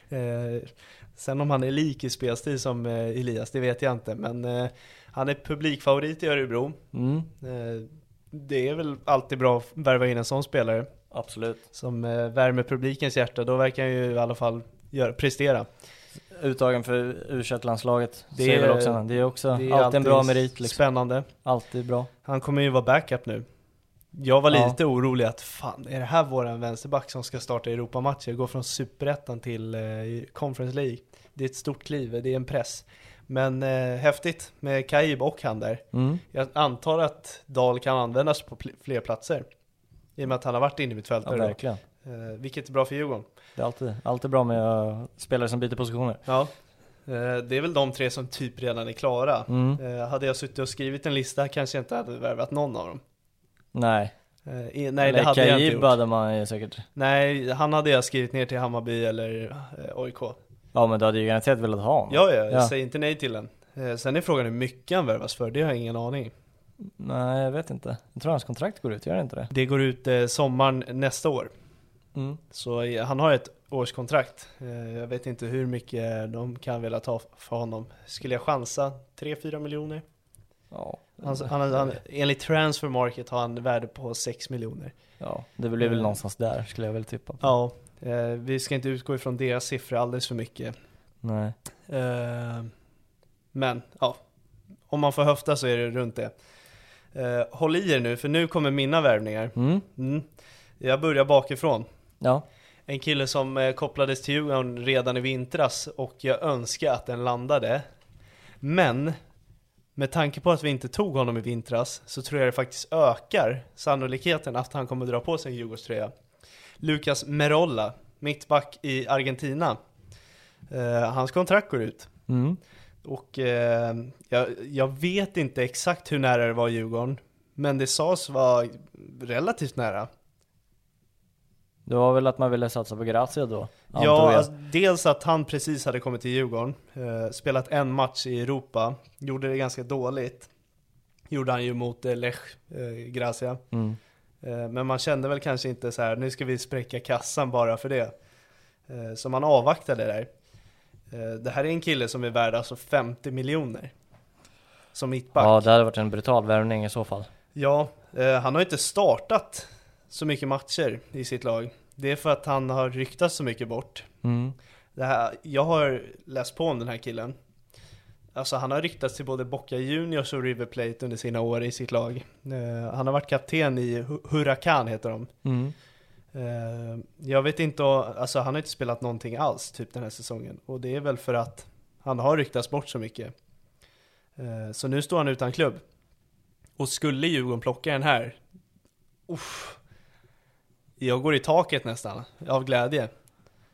Eh, sen om han är lik i spelstil som eh, Elias, det vet jag inte. Men eh, han är publikfavorit i Örebro.
Mm,
Eh, det är väl alltid bra att värva in en sån spelare
absolut.
som eh, värmer publikens hjärta. Då verkar han ju i alla fall göra, prestera.
Uttagen för u landslaget
Det
det säger
är-
väl också han. Det är också
Det är
alltid, en bra merit liksom.
Spännande.
Alltid bra.
Han kommer ju vara backup nu. Jag var
Ja.
lite orolig att fan, är det här våran vänsterback som ska starta Europamatcher? Gå från superettan till eh, Conference League. Det är ett stort kliv, det är en press. Men eh, häftigt med Kaib och han där.
Mm.
Jag antar att Dahl kan användas på pl- fler platser. I och med att han har varit inne i mitt fält
Ja,
där då.
verkligen.
eh, Vilket är bra för Djurgården.
Det är alltid, alltid bra med eh, spelare som byter positioner.
Ja. Eh, det är väl de tre som typ redan är klara.
Mm.
Eh, hade jag suttit och skrivit en lista kanske jag inte hade värvat någon av dem.
Nej.
Eh, i- nej, det
Eller
hade jag inte
Kayib
gjort.
hade man ju säkert.
Nej, han hade jag skrivit ner till Hammarby eller eh, AIK. Ja,
Ja men du hade ju garanterat velat ha honom.
ja, jag
Ja.
säger inte nej till den. Eh, Sen är frågan hur mycket han värvas för, det har jag ingen aning.
Nej jag vet inte. Jag tror hans kontrakt går ut, gör det inte det?
Det går ut eh, sommaren nästa år.
Mm.
Så eh, han har ett årskontrakt. Eh, Jag vet inte hur mycket de kan vilja ta för honom. Skulle jag chansa 3-4 miljoner?
Ja.
Han, han, han, enligt transfer market har han värde på 6 miljoner.
ja. Det blir väl någonstans där skulle jag väl tippa. På.
Eh. Ja, eh, vi ska inte utgå ifrån deras siffror alldeles för mycket.
Nej.
Eh, Men ja, om man får höfta så är det runt det. Eh, Håll i er nu, för nu kommer mina värvningar.
Mm.
Mm. Jag börjar bakifrån.
Ja.
En kille som eh, kopplades till Djurgården redan i vintras och jag önskar att den landade. Men med tanke på att vi inte tog honom i vintras så tror jag det faktiskt ökar sannolikheten att han kommer dra på sig en Djurgårdströja. Lucas Merolla, mittback i Argentina. Eh, hans kontrakt går ut.
Mm.
Och eh, jag, jag vet inte exakt hur nära det var Djurgården, men det sades vara relativt nära.
Det var väl att man ville satsa på Gracia då? antar
Ja,
jag.
alltså, dels att han precis hade kommit till Djurgården, eh, spelat en match i Europa, gjorde det ganska dåligt. Gjorde han ju mot eh, Lech eh, Gracia.
Mm.
Eh, men man kände väl kanske inte så här, nu ska vi spräcka kassan bara för det. Eh, så man avvaktade där. Eh, det här är en kille som är värd alltså 50 miljoner. Som mittback.
Ja, det hade varit en brutal värvning i så fall.
Ja, eh, han har inte startat så mycket matcher i sitt lag. Det är för att han har ryktats så mycket bort.
Mm.
Det här, jag har läst på om den här killen. Alltså han har ryktats till både Boca Juniors och River Plate under sina år i sitt lag. Eh, han har varit kapten i Hu- Huracan heter de.
Mm.
Eh, jag vet inte, o- alltså han har inte spelat någonting alls typ den här säsongen. Och det är väl för att han har ryktats bort så mycket. Eh, så nu står han utan klubb. Och skulle Djurgården plocka den här, uff, jag går i taket nästan av glädje.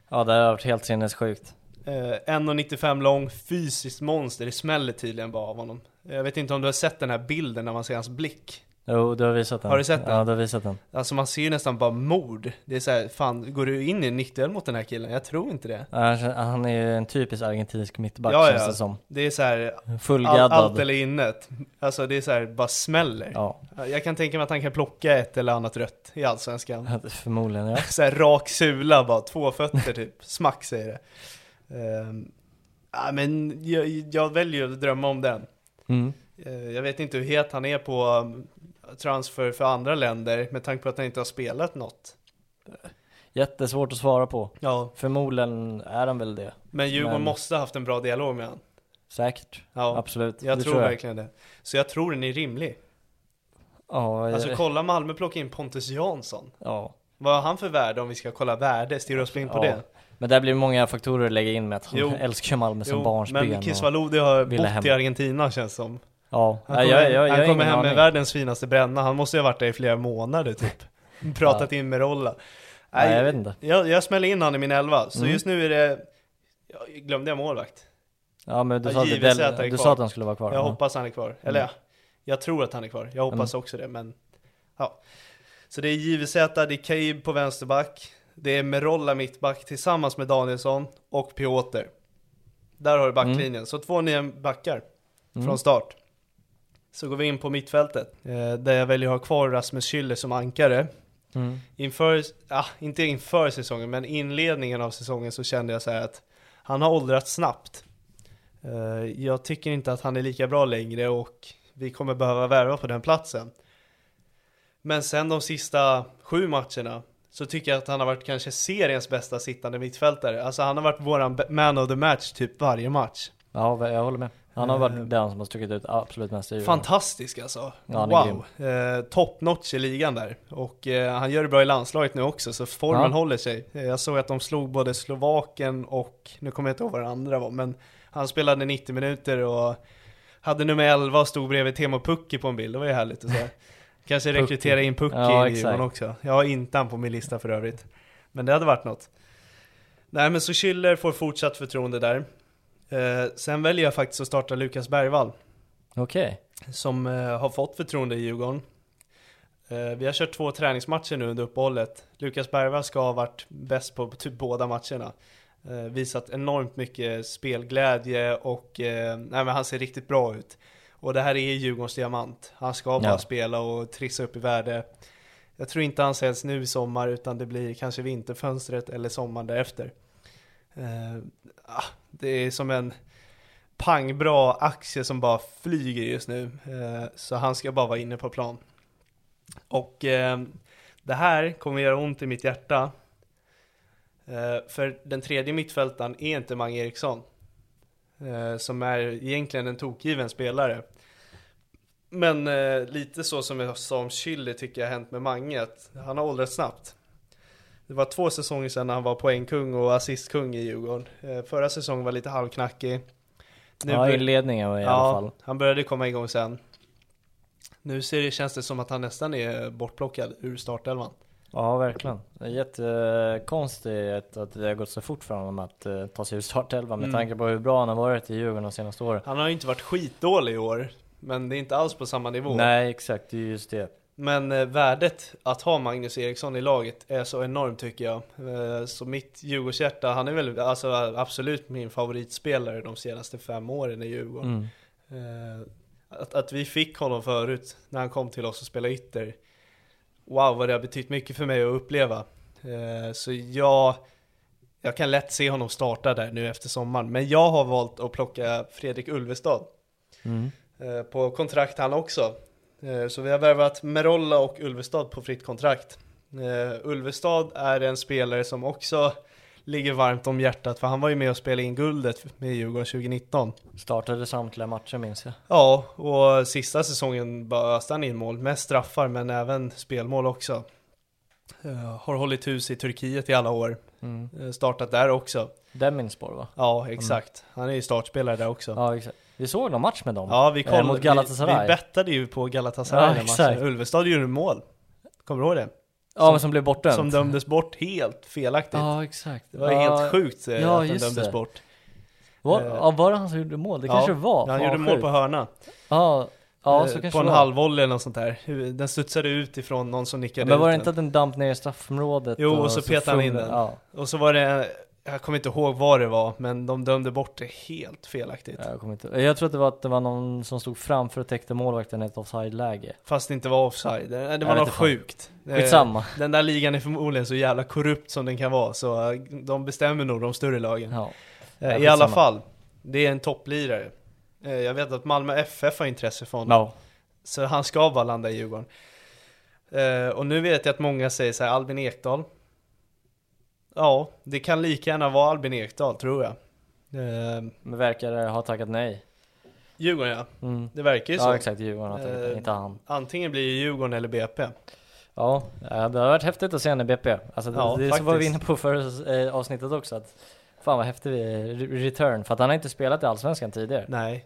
Ja, det hade varit helt sinnessjukt.
Eh, 1,95 lång, fysiskt monster, det smäller tydligen bara av honom. Jag vet inte om du har sett den här bilden när man ser hans blick.
Jo, du har visat den.
Har du sett den?
Ja, du har visat den.
Alltså man ser ju nästan bara mord. Det är så här, fan går du in i en nickduell mot den här killen? Jag tror inte det.
Ja, Han kän- han är ju en typisk argentinsk mittback
Ja,
känns
ja.
det som.
Det är så här, all,
Fullgaddad.
allt eller innet. Alltså det är så här, bara smäller.
Ja, [LAUGHS]
Jag kan tänka mig att han kan plocka ett eller annat rött i Allsvenskan.
förmodligen ja.
[LAUGHS] Så här rak sula bara, två fötter typ. Smack säger det. Ehm, ja, men jag, jag väljer att drömma om den.
Mm.
Eh, Jag vet inte hur het han är på um, transfer för andra länder med tanke på att han inte har spelat något.
Jättesvårt att svara på.
Ja.
Förmodligen är han väl det.
Men Djurgården
Men-
måste ha haft en bra dialog med honom.
Säkert.
Ja,
Absolut.
Jag
det
tror, verkligen det. Så jag tror den är rimlig.
Ja,
Alltså
eh,
kolla Malmö plocka in Pontus Jansson.
ja.
Vad har han för värde om vi ska kolla värde? Stirra oss blind på
ja. alltså,
det.
Men där blir många faktorer att lägga in med att han
Jo.
älskar Malmö som barnsben.
men
och-
Kisvalodi har bott
ville hem.
i Argentina känns som.
Ja,
Han
Nej,
kommer,
jag, jag, jag
han
har
kommer
ingen
hem med
aning.
världens finaste bränna. Han måste ju ha varit där i flera månader
[LAUGHS]
typ. Pratat in med Rolla.
Nej, jag vet inte. Mm.
Jag, jag smäller in han i min elva, så just nu är det... Jag glömde jag målvakt?
Ja men du
Ja,
sa, att,
JVZ
det-
är
du
kvar.
sa att han skulle vara kvar.
Jag
Ja. Mm.
hoppas han är kvar. Eller ja, jag tror att han är kvar. Jag hoppas också det, men... Ja. Så det är JVZ, det är Kaib på vänsterback. Det är Merolla mittback tillsammans med Danielsson och Piotr. Där
Mm.
har du backlinjen. Så två nya backar från start. Så går vi in på mittfältet. Eh, där jag väljer att ha kvar Rasmus Schüller som ankare.
Mm.
Inför, ah, inte inför säsongen, men inledningen av säsongen så kände jag så här att han har åldrats snabbt. Eh, jag tycker inte att han är lika bra längre och vi kommer behöva värva på den platsen. Men sen de sista sju matcherna så tycker jag att han har varit kanske seriens bästa sittande mittfältare. Alltså han har varit våran b- man of the match typ varje match.
Ja, v- jag håller med. Han har
Eh,
varit den som har stuckit ut absolut mest i Djurgården.
Fantastisk alltså.
Ja, han är
wow. Eh, Top notch i ligan där. Och eh, han gör det bra i landslaget nu också, så formen
Ja.
håller sig. Eh, jag såg att de slog både Slovaken och, nu kommer jag inte ihåg vad den andra var, men han spelade 90 minuter och hade nummer 11 och stod bredvid Temo Pukki på en bild, det var ju härligt. Och så.
[LAUGHS]
här. Kanske
Pukki.
rekrytera in Pukki
Ja,
i
exakt.
Djurgården också. Jag har inte han på min lista för övrigt. Men det hade varit något. Nej men så Schüller får fortsatt förtroende där. Eh, sen väljer jag faktiskt att starta Lukas Bergvall
Okej.
som eh, har fått förtroende i Djurgården. Eh, vi har kört två träningsmatcher nu under uppehållet. Lukas Bergvall ska ha varit bäst på typ båda matcherna. Eh, visat enormt mycket spelglädje och eh, nej, men han ser riktigt bra ut. Och det här är Djurgårdens diamant. Han ska bara
Ja.
spela och trissa upp i värde. Jag tror inte han säljs nu i sommar utan det blir kanske vinterfönstret eller sommaren därefter. Eh, ah, det är som en pangbra aktie som bara flyger just nu. Eh, Så han ska bara vara inne på plan. Och eh, det här kommer göra ont i mitt hjärta. Eh, För den tredje mittfältaren är inte Mange Eriksson. eh, Som är egentligen en tokgiven spelare. Men eh, lite så som jag sa om Schüller tycker jag har hänt med Mange, att han har åldrats snabbt. Det var två säsonger sedan han var poängkung och assistkung i Djurgården. Eh, Förra säsongen var lite halvknackig. Nu
Ja,
bör-
inledningen var i alla fall.
han började komma igång sen. Nu ser det, känns det som att han nästan är bortplockad ur startelvan.
Ja, verkligen. Det är jättekonstigt att det har gått så fort för honom att eh, ta sig ur startelvan
Mm.
med tanke på hur bra han har varit i Djurgården de senaste åren.
Han har ju inte varit skitdålig i år, men det är inte alls på samma nivå.
Nej, exakt. Det är just det.
Men eh, värdet att ha Magnus Eriksson i laget är så enormt tycker jag. Eh, så mitt Djurgårdshjärta, han är väl alltså, absolut min favoritspelare de senaste fem åren i Djurgården.
Mm.
Eh, att, att vi fick honom förut när han kom till oss och spelade ytter. Wow vad det har betytt mycket för mig att uppleva. Eh, så jag, jag kan lätt se honom starta där nu efter sommaren. Men jag har valt att plocka Fredrik Ulvestad. Eh, på kontrakt han också. Eh, Så vi har värvat Merolla och Ulvestad på fritt kontrakt. Eh, Ulvestad är en spelare som också ligger varmt om hjärtat för han var ju med och spelade in guldet med Djurgården 2019.
Startade samtliga matcher minns jag.
Ja, och sista säsongen bara öste han in mål, mest straffar men även spelmål också. Eh, har hållit hus i Turkiet i alla år,
Mm.
Eh, startat där också.
Deminspor va?
Ja, exakt. Han är ju startspelare där också.
Mm. Ja, exakt. Vi såg någon match med dem.
Ja, vi
Eh,
kollade,
mot
Vi,
Galatasaray.
vi bettade ju på Galatasaray
Ja,
den
exakt.
matchen. Ulvestad gjorde mål. Kommer du ihåg det?
ja, men som blev bortdömd.
Som dömdes bort helt felaktigt.
Ja, exakt.
Det var
ja,
helt sjukt eh,
ja,
att den
just
dömdes
det.
bort.
Var,
Eh,
ja, var det han som gjorde mål? Det kanske det var.
Han
Fan,
gjorde
vad
mål
sjukt.
på hörna.
Ja, ja så
Eh,
kanske
på en
det var.
halvvolley eller något sånt där. Hur- Den studsade ut ifrån någon som nickade
Men var
ut
det inte att den damp ner i straffområdet?
Jo, och så petade han in
fumlade-
den.
Ja,
den. Och så var det, jag kommer inte ihåg vad det var, men de dömde bort det helt felaktigt.
jag kommer inte Jag tror att det var att det var någon som stod framför och täckte målvakten i ett offside-läge.
Fast det inte var offside. Det, det var
vet
något
inte fan.
sjukt. Eh,
Skitsamma.
Den där ligan är förmodligen så jävla korrupt som den kan vara, så eh, de bestämmer nog de större lagen.
Ja.
Eh, I
skitsamma.
alla fall, det är en topplirare. Eh, Jag vet att Malmö FF har intresse för honom,
Ja.
så han ska bara landa i Djurgården. Eh, Och nu vet jag att många säger så här, Albin Ekdal. Ja, det kan lika gärna vara Albin Ekdal, tror jag. Eh,
Men verkar ha tackat nej.
Djurgården ja,
Mm.
det verkar ju så.
Ja, exakt. Djurgården har tackat nej,
Eh,
inte han.
Antingen blir det Djurgården eller BP.
Ja, eh, det har varit häftigt att se henne i BP. Alltså, det,
Ja,
det som var vi
faktiskt.
inne på förra eh, avsnittet också. Att, fan vad häftig vi är. Re- return. För att han har inte spelat i Allsvenskan tidigare.
Nej.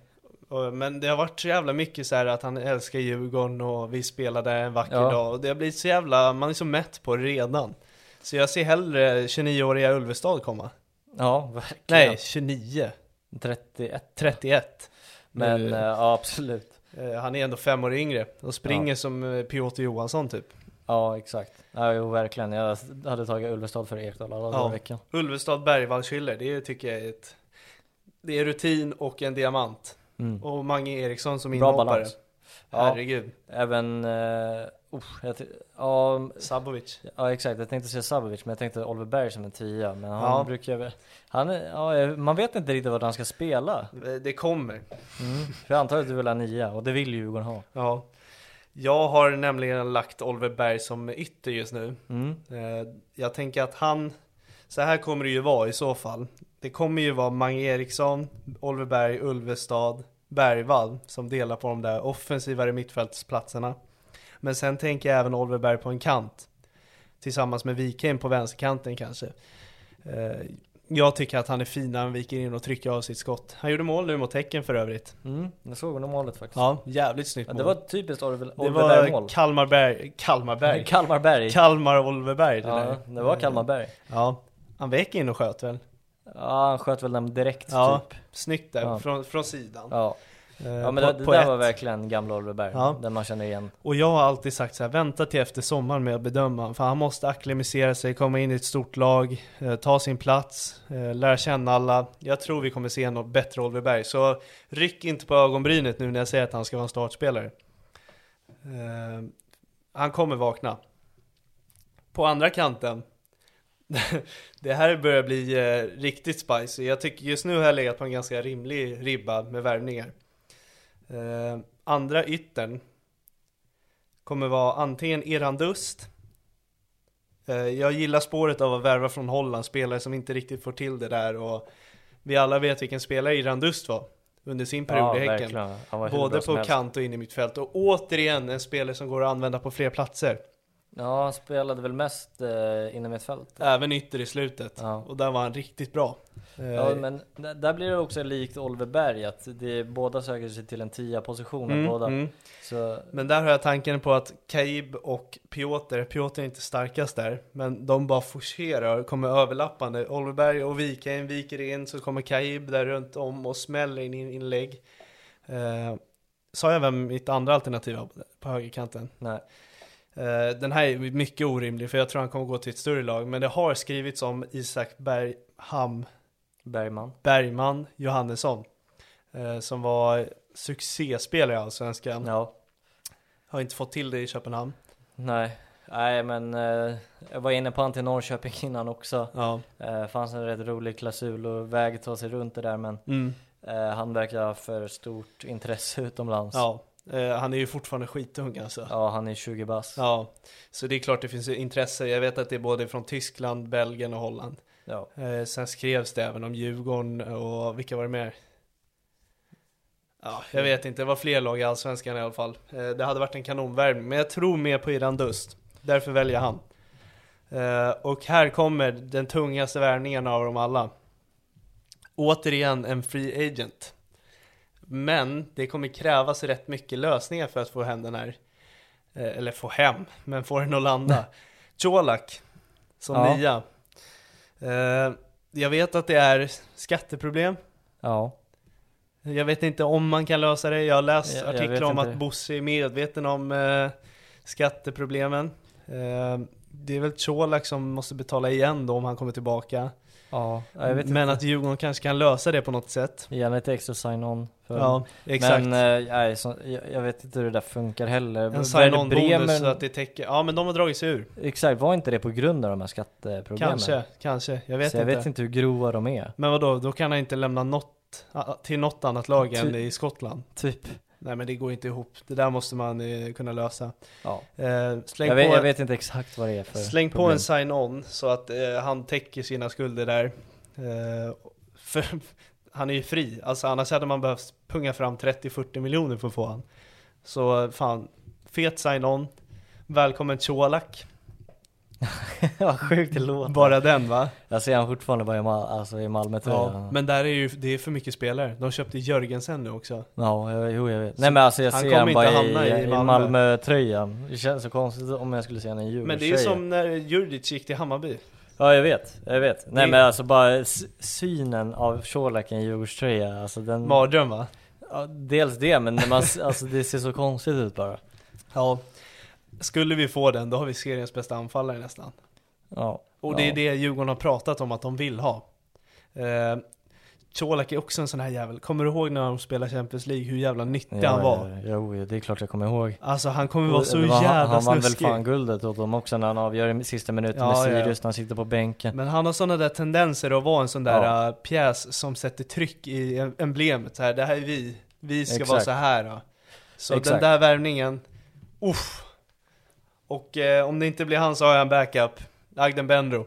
Och- Men det har varit så jävla mycket så här att han älskar Djurgården och vi spelar där en vacker
Ja.
dag. Och det har blivit så jävla, man är så mätt på det redan. Så jag ser hellre 29-åriga Ulvestad komma.
Ja, verkligen.
Nej, 29.
31.
31.
Men
Nu-
eh, ja, absolut.
Eh, Han är ändå fem år yngre och springer som eh, Piotr Johansson typ.
Ja, Ja, exakt. Ja, jo, verkligen. Jag hade tagit Ulvestad för Ekdal alla dagar i veckan.
Ulvestad Bergvallskiller, det tycker jag är ett... Det är rutin och en diamant.
Mm.
Och Mange Eriksson som
Bra
inhoppare.
balans. Ja,
Herregud.
även... Uh, jag ty- ja,
Sabovic.
ja, exakt. Jag tänkte säga Sabovic, men jag tänkte Oliver Berg som en tia. Men han
Ja.
brukar väl... Han är, ja, man vet inte riktigt vad han ska spela.
Det kommer.
För jag antar att du vill ha nia, och det vill ju Djurgården ha.
Ja. Jag har nämligen lagt Oliver Berg som ytter just nu.
Mm.
Eh, Jag tänker att han, så här kommer det ju vara i så fall. Det kommer ju vara Mange Eriksson, Oliver Berg, Ulvestad, Bergvall som delar på de där offensivare mittfältsplatserna. Men sen tänker jag även Oliver Berg på en kant. Tillsammans med Wikheim på vänsterkanten kanske. Eh, Jag tycker att han är fin när han viker in och trycker av sitt skott. Han gjorde mål nu mot Häcken för övrigt.
Mm. Jag såg honom målet faktiskt.
Ja, jävligt snyggt
Ja,
mål.
det var ett typiskt Oliver,
Det
Oliver
var
Berg-mål.
Kalmarberg, Kalmarberg,
Kalmar Berg.
Kalmar Olveberg det
ja,
där.
det var Typ. Kalmar Berg.
Ja, han vek in och sköt väl?
Ja, han sköt väl den direkt
Ja,
typ.
snyggt där
Ja.
från, från sidan.
Ja.
Eh,
ja, men
på-
det, det
på
där
ett.
var verkligen gamla Oliver Berg.
Ja.
Den man känner igen.
Och jag har alltid sagt så här, vänta till efter sommaren med att bedöma honom, för han måste acklimatisera sig, komma in i ett stort lag, eh, ta sin plats, eh, lära känna alla. Jag tror vi kommer se något bättre Olveberg, så ryck inte på ögonbrynet nu när jag säger att han ska vara en startspelare. Eh, han kommer vakna. På andra kanten, [LAUGHS] det här börjar bli eh, riktigt spicy. Jag tycker just nu har jag legat på en ganska rimlig ribba med värvningar. Eh, andra yttern kommer vara antingen Erandust. Eh, jag gillar spåret av att värva från Holland, spelare som inte riktigt får till det där och vi alla vet vilken spelare Erandust var under sin period
Ja,
i Häcken.
verkligen. Han var hur bra
Både
som
på
helst.
kant och in i mitt fält. Och återigen en spelare som går att använda på fler platser.
Ja, han spelade väl mest eh, inom ett fält.
Även ytter i slutet.
Ja.
Och där var han riktigt bra.
Ja,
Eh,
men d- där blir det också likt Oliver Berg, att det, båda söker sig till en tia position
Mm,
båda.
mm.
Så
Men där har jag tanken på att Kaib och Piotr, Piotr är inte starkast där, men de bara forcerar och kommer överlappande. Olveberg och Wikheim viker in, så kommer Kaib där runt om och smäller in in- inlägg. Eh, sa jag vem mitt andra alternativ var på högerkanten?
nej.
Eh, Den här är mycket orimlig för jag tror han kommer gå till ett större lag. Men det har skrivits om Isak Bergham
Bergman.
Bergman Johannesson. eh, Som var succéspelare i Allsvenskan.
Ja.
Har inte fått till det i Köpenhamn.
Nej. Nej men eh, jag var inne på han till Norrköping [LAUGHS] innan också.
Ja.
Eh, fanns en rätt rolig klausul och väg att ta sig runt det där men
Mm.
eh, han verkar ha för stort intresse [LAUGHS] utomlands.
ja. Eh, Han är ju fortfarande skitung alltså.
Ja, han är 20 bass. Ja.
Ja. Så det är klart det finns ju intresse. Jag vet att det är både från Tyskland, Belgien och Holland. Eh, Sen skrevs det även om Djurgården och vilka var det mer? Ja, jag vet inte, det var fler lag i Allsvenskan i alla fall. Eh, Det hade varit en kanonvärvning, men jag tror mer på Iran Dust. Därför väljer jag han. Eh, Och här kommer den tungaste värvningen av dem alla. Återigen en free agent. Men det kommer krävas rätt mycket lösningar för att få hem den här. eh, Eller få hem, men få den att
[LAUGHS]
landa. Colak som
Ja.
nia. Eh, jag vet att det är skatteproblem.
Ja.
Jag vet inte om man kan lösa det. Jag har läst
Jag- jag vet
artiklar om
inte.
att Bosse är medveten om eh, skatteproblemen. Eh, det är väl Colak som måste betala igen då om han kommer tillbaka.
Ja, jag vet
Men att Djurgården kanske kan lösa det på något sätt.
inte. Gärna lite extra sign-on. för-
Ja, exakt.
Men eh, nej, så, jag, jag vet inte hur det där funkar heller. Werder
en sign-on-bonus
Bremen-
så att det täcker. Ja men de har dragit sig ur.
Exakt, var inte det på grund av de här skatteproblemen?
Kanske, kanske. Jag vet,
så jag
inte.
vet inte hur grova de är.
Men vadå, då kan han inte lämna något a- till något annat lag än
Ty-
i Skottland.
Typ.
Nej men det går inte ihop. Det där måste man eh, kunna lösa.
Ja.
Eh, släng
Jag, vet,
på
jag vet inte exakt vad det är för
Släng på
problem.
en sign-on så att eh, han täcker sina skulder där. Eh, för [LAUGHS] han är ju fri, alltså annars hade man behövt punga fram 30-40 miljoner för att få han. Så eh, fan, fet sign-on. Välkommen Colak.
[LAUGHS] Vad sjukt det låter.
Bara den va?
Jag ser han fortfarande bara i, Mal- alltså i Malmö tror
Ja.
jag.
Men där är ju, det är för mycket spelare. De köpte Jörgensen nu också.
Ja, jag- jo jag vet. Nej men alltså jag
han
ser
kommer
han
inte
bara
hamna
i,
i
i
Malmö.
Malmö-tröjan. Det känns så konstigt om jag skulle se honom i Djurgården.
Men det är ju som när Djurdjic gick till Hammarby.
Ja jag vet, jag vet. Nej
Det-
men alltså bara s- synen av Colak i en Djurgårdströja, alltså den...
Mardröm va? [LAUGHS]
Ja, dels det, men när man, s- alltså det ser så konstigt ut bara.
Ja. Skulle vi få den, då har vi seriens bästa anfallare nästan.
Ja.
Och det är
ja.
det Djurgården har pratat om att de vill ha. Eh, Colak är också en sån här jävel. Kommer du ihåg när de spelade Champions League, hur jävla nyttig
Ja,
han var?
ja, Jo, det är klart jag kommer ihåg.
Alltså han kommer vara så
Det var-
jävla
han, han vann väl
snuskig.
fan guldet åt dem också när han avgör i sista minuten
Ja,
med
ja, ja.
Sirius när han sitter på bänken.
Men han har sådana där tendenser att vara en sån där
Ja.
eh, pjäs som sätter tryck i em- emblemet. Så här, det här är vi, vi ska
Exakt.
vara så här. Då. Så den
Exakt.
där värvningen, uff. Och eh, om det inte blir han så har jag en backup. Agden Benro.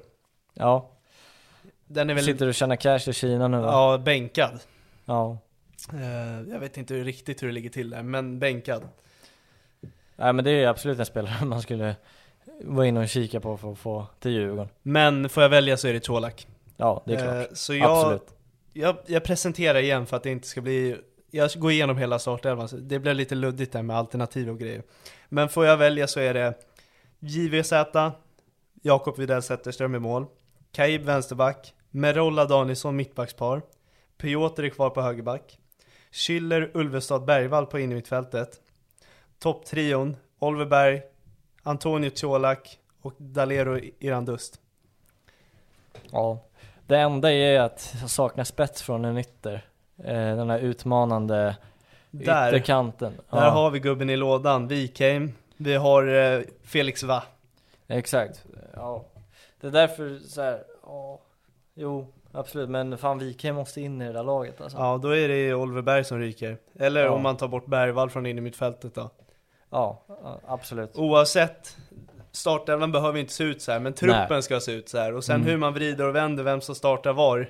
Ja,
Den är väl
sitter och tjänar cash i Kina nu va?
ja, bänkad.
ja.
Eh, jag vet inte riktigt hur det ligger till där, men bänkad.
Nej men det är absolut en spelare [LAUGHS] man skulle vara inne och kika på för att få till Djurgården.
Men får jag välja så är det Colak.
Ja, det är
Eh,
klart.
så jag,
Absolut.
Jag, jag presenterar igen för att det inte ska bli... Jag går igenom hela startelvan, så det blev lite luddigt där med alternativ och grejer. Men får jag välja så är det JVZ, Jakob Widell Zetterström i mål, Kaib vänsterback, Merola Danielsson mittbackspar, Piotr är kvar på högerback, Schiller Ulvestad Bergvall på innermittfältet, topptrion Oliver Berg, Antonio Colak och Dalero Irandust.
Ja. Det enda är att jag saknar spets från en ytter. Eh, Den här utmanande
Där.
ytterkanten.
Där har vi gubben i lådan, Wikheim, vi har eh, Felix Va.
Exakt. Ja. Det är därför så här, ja. Jo, absolut. Men fan Wikheim måste in i det där laget alltså.
Ja, då är det Oliver Berg som ryker. Eller
Ja.
om man tar bort Bergvall från innermittfältet då.
Ja, ja, absolut.
Oavsett, startelvan behöver inte se ut så här, men truppen
Nej. Mm.
ska se ut så här. Och sen hur man vrider och vänder, vem som startar var,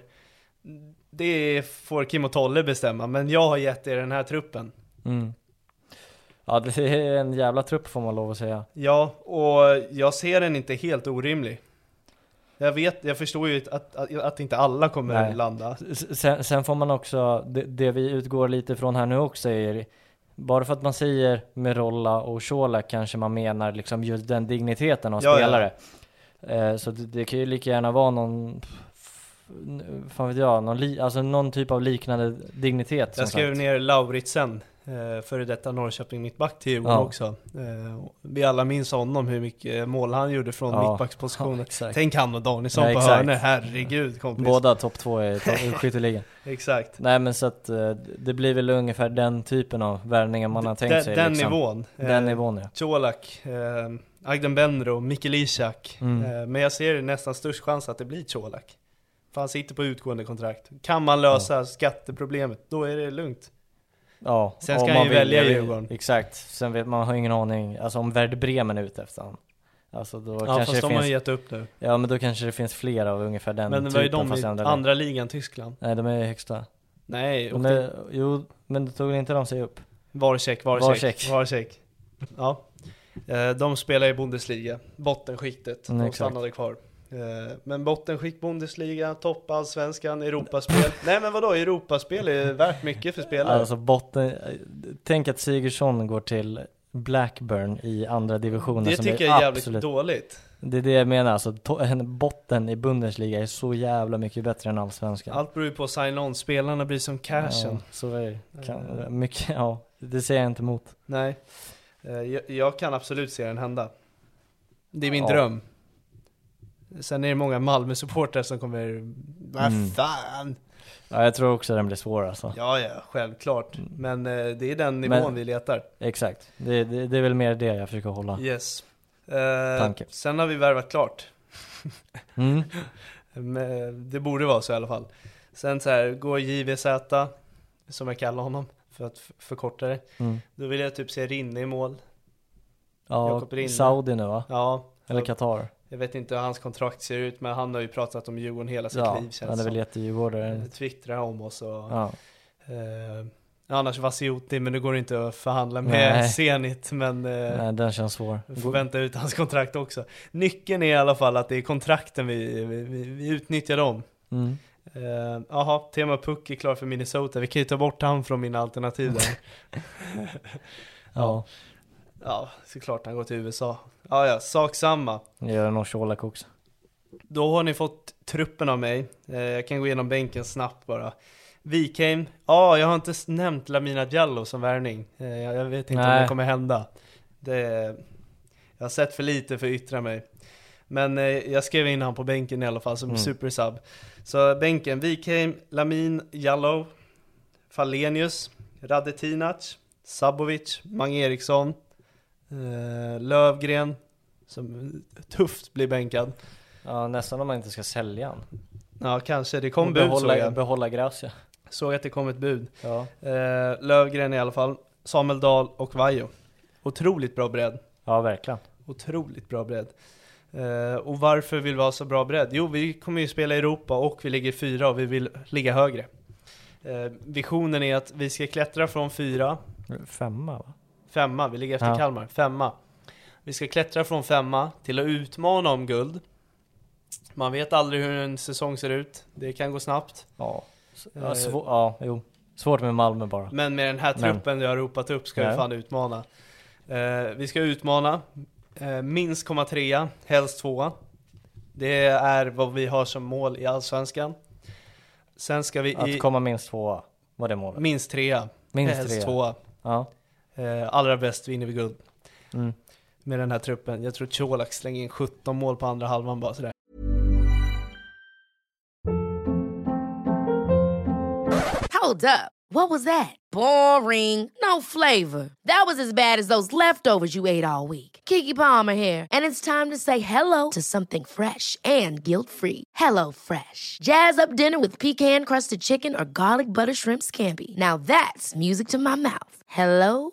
det får Kim och Tolle bestämma. Men jag har gett er den här truppen.
Mm. Ja, det är en jävla trupp får man lov att säga.
Ja, och jag ser den inte helt orimlig. Jag vet, jag förstår ju att, att, att inte alla kommer
Nej.
landa.
S- Sen, sen får man också, det, det vi utgår lite från här nu också är, bara för att man säger Merolla och Shola kanske man menar liksom just den digniteten av
Ja, ja.
spelare. Eh, så det, det kan ju lika gärna vara någon, f- n- fan vet jag, någon, li, alltså någon typ av liknande dignitet. som
Jag skrev
sagt.
ner Lauritsen, eh, före detta Norrköping mittback till Djurgården
Ja.
också. Eh, Vi alla minns honom, hur mycket mål han gjorde från
Ja. Ja,
mittbackspositionen.
exakt.
Tänk han och Danielsson
Ja,
på
exakt.
hörnor, herregud kompis.
Båda topp två i,
[LAUGHS]
to- i skytteligan.
Exakt.
Nej men så att eh, det blir väl ungefär den typen av värvningar man har tänkt
den,
sig.
den
liksom.
nivån. eh,
Den nivån ja.
Colak, eh, Agden Benro, Mikkel Ishak.
Mm.
Eh, men jag ser nästan störst chans att det blir Colak. För han sitter på utgående kontrakt. Kan man lösa skatteproblemet, då är det lugnt.
Ja,
Sen
om
ska
man
han ju
vill.
välja
Jag vet-
Djurgården.
Exakt, sen vet man har ingen aning, alltså om Werder Bremen är ute efter han. Alltså då
Ja,
kanske
fast
det
de har ju
finns,
gett upp nu.
ja men då kanske det finns fler typ av ungefär den
Men det var ju
typen
de
fast
i
i andra,
andra ligan, Tyskland.
Nej de är i högsta.
Nej, och
De
det,
är, jo, men då tog inte de sig upp?
var check, var
Var
check,
check.
var check. Ja. Eh, De spelar i Bundesliga, bottenskiktet,
Mm,
de
exakt.
stannade kvar. Eh, Men bottenskikt, Bundesliga, toppallsvenskan,
[LAUGHS]
Europaspel. Nej men vadå, Europaspel är värt mycket för spelare.
Alltså botten, tänk att Sigurdsson går till Blackburn i andra divisionen
det
som
tycker
är
jag är jävligt
absolut,
dåligt.
Det är det jag menar, alltså to, en botten i Bundesliga är så jävla mycket bättre än allsvenskan.
Allt beror ju på sign-on, spelarna blir som cashen.
Ja, så är det. Kan, mycket, ja, det säger jag inte emot.
Nej, Eh, jag, jag kan absolut se den hända. Det är min
Ja.
dröm. Sen är det många Malmö-supportrar som kommer, vad
Mm.
fan,
Ja, jag tror också den blir svår alltså.
Ja, ja, självklart. Men eh, det är den nivån
Mm. Men-
vi letar.
Exakt. Det, det, det är väl mer det jag försöker hålla.
Yes. Eh,
Tanke.
sen har vi värvat klart.
[LAUGHS] Mm.
[LAUGHS] Men Det borde vara så i alla fall. Sen så här, går JVZ, som jag kallar honom, för att f- förkorta det.
Mm.
Då vill jag typ se Rinne i mål.
Ja,
Jakob Rinne.
Saudi nu va?
Ja,
Eller Qatar?
jag vet inte hur hans kontrakt ser ut, men han har ju pratat om Djurgården hela sitt
Ja,
liv känns
han är väl
som.
jättedjurgårdare.
Twittrar om oss och...
Ja.
Eh, annars Vassioti, men det går inte att förhandla
Nej.
med Zenit. Men... Eh,
Nej, den känns svår.
Vi får vänta ut hans kontrakt också. Nyckeln är i alla fall att det är kontrakten vi, vi, vi- vi utnyttjar dem.
Mm.
Eh, Jaha, Tema Puck är klar för Minnesota. Vi kan ju ta bort han från mina alternativ där.
Ja,
ja, såklart han går till USA. Ja, ja, sak samma.
det gör nog Colak också.
Då har ni fått truppen av mig. Eh, jag kan gå igenom bänken snabbt bara. Wikheim. Ja, jag har inte s- nämnt Lamina Diallo som värvning. Eh, jag, jag vet inte om
Nej.
det kommer hända. Det, Jag har sett för lite för att yttra mig. Men eh, jag skrev in han på bänken i alla fall som supersub. Så bänken, Wikheim, Lamin, Jallow, Falenius, Radetinac, Sabovic, Mange Eriksson, eh, Lövgren, som tufft blir bänkad.
Ja, nästan om man inte ska sälja han.
Ja, kanske. Det kom
Och
bud såg
behålla,
jag.
behålla Gracia.
Såg att det kom ett bud.
Ja.
Eh, Lövgren i alla fall, Samuel Dahl och Vaiho. Otroligt bra bredd.
ja, verkligen.
Otroligt bra bredd. Eh, och varför vill vi ha så bra bredd? Jo, vi kommer ju spela i Europa och vi ligger fyra och vi vill ligga högre. Eh, visionen är att vi ska klättra från fyra,
Femma va?
femma, vi ligger efter
Ja.
Kalmar, femma. Vi ska klättra från femma till att utmana om guld. Man vet aldrig hur en säsong ser ut, det kan gå snabbt.
Ja. S-
Eh,
Ja, svå- ja, jo. Svårt med Malmö bara.
Men med den här
Men-
truppen jag har ropat upp ska vi
Ja.
fan utmana. Eh, vi ska utmana. Eh, minst komma trea, helst tvåa. Det är vad vi har som mål i Allsvenskan. Sen ska vi i
Att komma minst tvåa var det målet.
minst trea,
Minst
helst
trea.
tvåa.
Ja.
Eh, allra bäst vinner vi guld.
Mm.
Med den här truppen. Jag tror Colak slänger in 17 mål på andra halvan bara sådär.
Hold up. What was that? Boring. No flavor. That was as bad as those leftovers you ate all week. Kiki Palmer here, and it's time to say hello to something fresh and guilt-free. Hello Fresh. Jazz up dinner with pecan-crusted chicken or garlic butter shrimp scampi. Now that's music to my mouth. Hello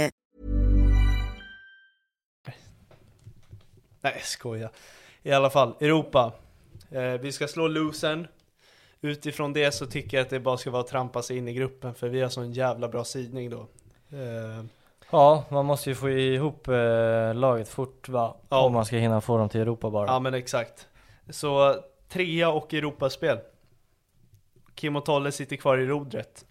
Nej, skoja. I alla fall, Europa. Eh, vi ska slå losern. Utifrån det så tycker jag att det bara ska vara att trampa sig in i gruppen, för vi har sån jävla bra sidning då. Eh,
ja, man måste ju få ihop eh, laget fort va?
Ja.
Om man ska hinna få dem till Europa bara.
ja, men exakt. Så trea och Europaspel. Kim och Tolle sitter kvar i rodret.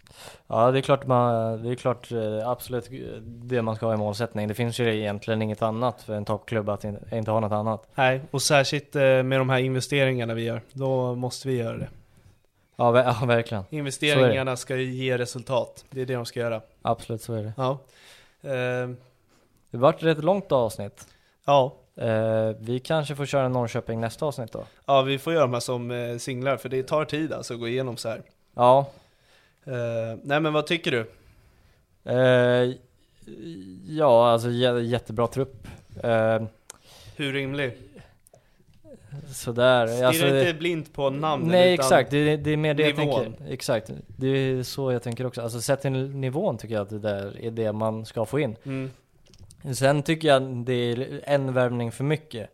Ja det är klart, man, det är klart eh, absolut eh, det man ska ha i målsättning. Det finns ju egentligen inget annat för en toppklubb att in, inte ha något annat.
Nej, och särskilt eh, med de här investeringarna vi gör, då måste vi göra det.
Ja, ver- [LAUGHS] ja verkligen.
Investeringarna ska ju ge resultat, det är det de ska göra.
Absolut så är det.
Ja. Eh,
Det vart ett långt avsnitt.
ja.
Eh, vi kanske får köra Norrköping nästa avsnitt då.
ja, vi får göra de här som eh, singlar, för det tar tid alltså att gå igenom så här.
Ja,
Eh, nej men vad tycker du?
eh, ja alltså jä- jättebra trupp. Eh,
Hur rimlig?
sådär. Alltså,
Stirra inte blint på namnen
nej
utan
exakt, det, det är mer det
nivån.
jag tänker. Exakt, det är så jag tänker också. Alltså sett till nivån tycker jag att det där är det man ska få in.
Mm,
Sen tycker jag det är en värvning för mycket.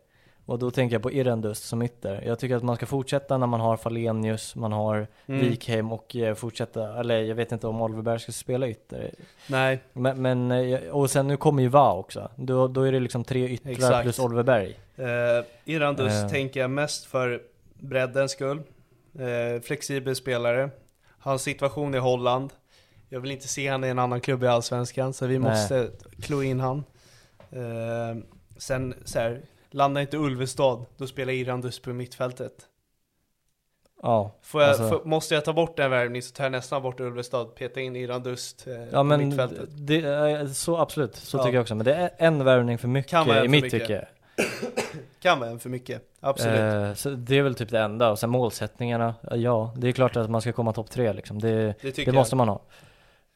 Och då tänker jag på Irendust som ytter. Jag tycker att man ska fortsätta när man har Falenius, man har
Mm.
Wikheim och eh, fortsätta, eller jag vet inte om Oliver Berg ska spela ytter.
nej,
Men, men eh, och sen nu kommer ju Va också. Då, då är det liksom tre yttrar
Exakt.
plus Oliver Berg.
uh, Irandus
Eh.
tänker jag mest för breddens skull. Eh, flexibel spelare. Hans situation i Holland. Jag vill inte se han i en annan klubb i Allsvenskan så vi
Nej.
måste klå in han. Eh, sen så här, landa inte Ulvestad, då spelar Irandus på mittfältet.
Ja,
Får jag,
alltså.
får, måste jag ta bort en värvning så tar jag nästan bort Ulvestad, peta in Irandust eh,
ja
på
men
mittfältet.
det, är- så absolut, så
Ja.
tycker jag också. Men det är en värvning för mycket
vara en för
i mitt
mycket.
tycke.
kan vara en för mycket. Absolut.
Eh, så det är väl typ det enda. Och sen målsättningarna, eh, ja, det är klart att man ska komma topp tre liksom. Det,
Det
det,
tycker
måste man ha.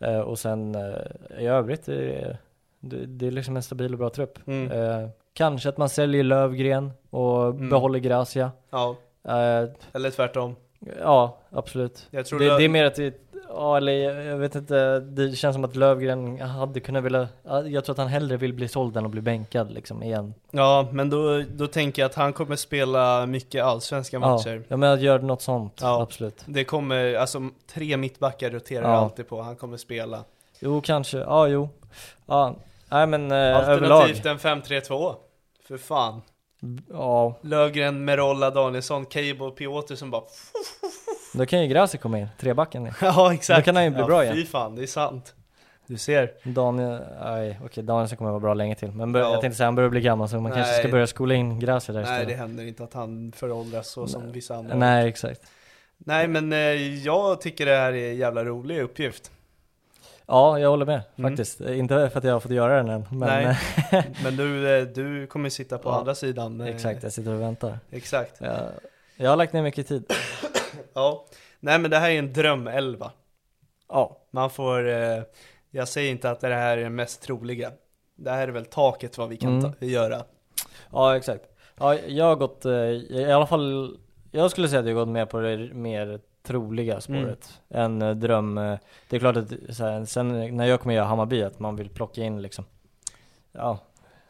Eh, och sen eh, i övrigt, det är, det, det är liksom en stabil och bra trupp.
Mm.
Eh, kanske att man säljer Lövgren och behåller Gracia.
Ja,
Eh,
eller tvärtom.
ja, absolut.
Jag tror
det,
Löv-
det är mer att det Ja, eller jag jag vet inte, det känns som att Lövgren hade kunnat vilja, ja, jag tror att han hellre vill bli såld än att bli bänkad liksom igen.
Ja, men då, då tänker jag att han kommer spela mycket allsvenska
Ja,
matcher.
ja, men jag gör något sånt,
Ja.
absolut.
Det kommer, alltså tre mittbackar roterar
Ja.
alltid på, han kommer spela.
Jo, kanske. Ja, jo. Ja, nej men eh, överlag.
Alternativt en 5-3-2. För fan.
Ja,
Lögren, Merolla, Danielsson, Cable, Piotr som bara...
då kan ju Gracie komma in. Trebacken.
[LAUGHS] ja, exakt.
Då kan han ju bli
ja,
bra
fy
igen.
fan, det är sant. Du ser.
Daniel, nej okej, Daniel kommer vara bra länge till. Men bör,
Ja.
jag tänkte säga han börjar bli gammal så man kanske ska
Nej.
börja skola in Gracie där
Nej, det
istället.
händer inte att han föråldras så som vissa andra. Nej,
Nej, exakt.
men eh, jag tycker det här är en jävla rolig uppgift.
Ja, jag håller med faktiskt. Inte för att jag har fått göra den än, men
Mm. Nej. [LAUGHS] Men du, eh, du kommer sitta på
Ja,
andra sidan. eh,
[LAUGHS] exakt, jag sitter och väntar.
Exakt.
Jag, jag har lagt ner mycket tid.
Ja. Nej, men det här är en drömelva.
Ja,
Man får, eh, jag säger inte att det här är det mest troliga. Det här är väl taket vad vi kan
Mm.
ta- göra.
Ja exakt. Ja, jag har gått, eh, i alla fall, jag skulle säga att jag har gått med på det mer troliga
Mm.
spåret. En eh, dröm, eh, det är klart att så här, sen när jag kommer göra Hammarby att man vill plocka in liksom, ja,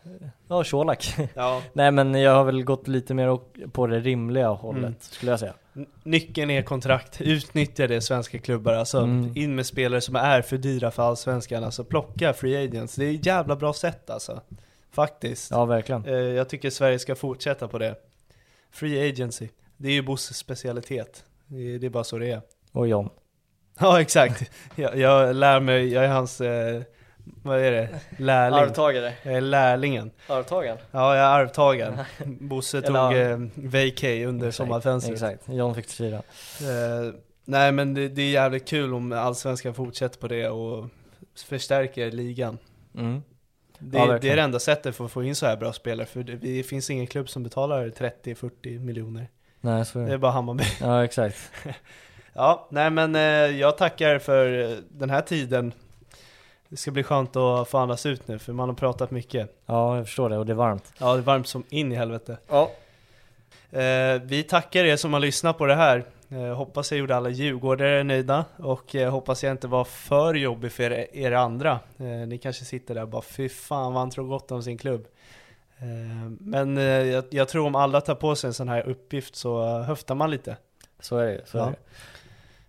eh, ja Colak.
Ja.
[LAUGHS] Nej men jag har väl gått lite mer och- på det rimliga hållet
Mm.
skulle jag säga.
N- Nyckeln är kontrakt, utnyttja det svenska klubbar alltså.
Mm.
In med spelare som är för dyra för allsvenskan, alltså plocka free agents. Det är ett jävla bra sätt alltså. Faktiskt.
Ja verkligen.
Eh, Jag tycker Sverige ska fortsätta på det. Free agency, det är ju Bosses specialitet. Det är det är bara så det är. [LAUGHS]
Och John.
Ja exakt, jag, jag lär mig, jag är hans, eh, vad är det, lärling.
Arvtagare.
Jag är lärlingen.
Arvtagaren.
Ja, jag är
[LAUGHS]
arvtagaren. Bosse tog
Eller-
eh, VK under sommarfönstret.
Exakt, John fick fyra.
Eh, nej, men det, det är jävligt kul om allsvenskan fortsätter på det och förstärker ligan.
Mm.
Det,
Ja,
det
verkligen.
är det enda sättet för att få in så här bra spelare, för det, det finns ingen klubb som betalar 30-40 miljoner.
Nej så är
Det är
det.
bara Hammarby. [LAUGHS]
Ja exakt.
Ja, nej men eh, jag tackar för eh, den här tiden. Det ska bli skönt att få andas ut nu, för man har pratat mycket.
Ja jag förstår det och det är varmt.
Ja, det är varmt som in i helvete.
Ja.
Eh, vi tackar er som har lyssnat på det här. Eh, hoppas jag gjorde alla djurgårdare nöjda och eh, hoppas jag inte var för jobbig för er, er andra. Eh, ni kanske sitter där och bara fy fan vad han tror gott om sin klubb. Eh, men eh, jag, jag tror om alla tar på sig en sån här uppgift så eh, höftar man lite.
Så är det så är
Ja.
det.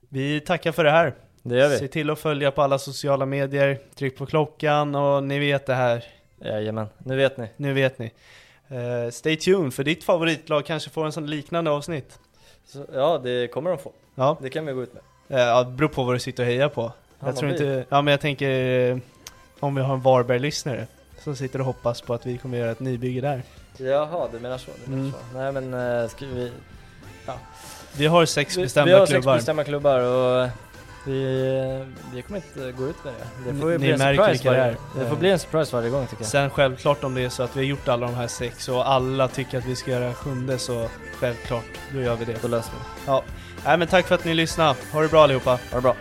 Vi tackar för det här.
Det gör vi.
Se till att följa på alla sociala medier, tryck på klockan och ni vet det här.
Jajamän, nu vet ni.
Nu vet ni. Eh, stay tuned för ditt favoritlag kanske får en sån liknande avsnitt.
Så, ja, det kommer de få.
Ja.
Det kan vi gå ut med.
Eh, Ja, det beror på vad du sitter och hejar på. Jag
Hammarby.
tror inte, ja men jag tänker eh, om vi har en Varberg-lyssnare som sitter och hoppas på att vi kommer göra ett nybygge där.
Jaha, du menar så? Du menar
Mm.
så. Nej men eh, ska vi...
Vi har sex
Vi,
bestämda
vi har sex
klubbar.
bestämda klubbar och eh, vi, eh, vi kommer inte gå ut med det. Det får
Ni-
ju bli
ni
en
märker
surprise
vilka det
varje
är.
Det får bli en surprise varje gång tycker jag.
Sen självklart om det är så att vi har gjort alla de här sex och alla tycker att vi ska göra en sjunde så självklart, då gör vi det.
Då löser vi det.
Ja. Nej men tack för att ni lyssnade. Ha det bra allihopa.
Ha det bra.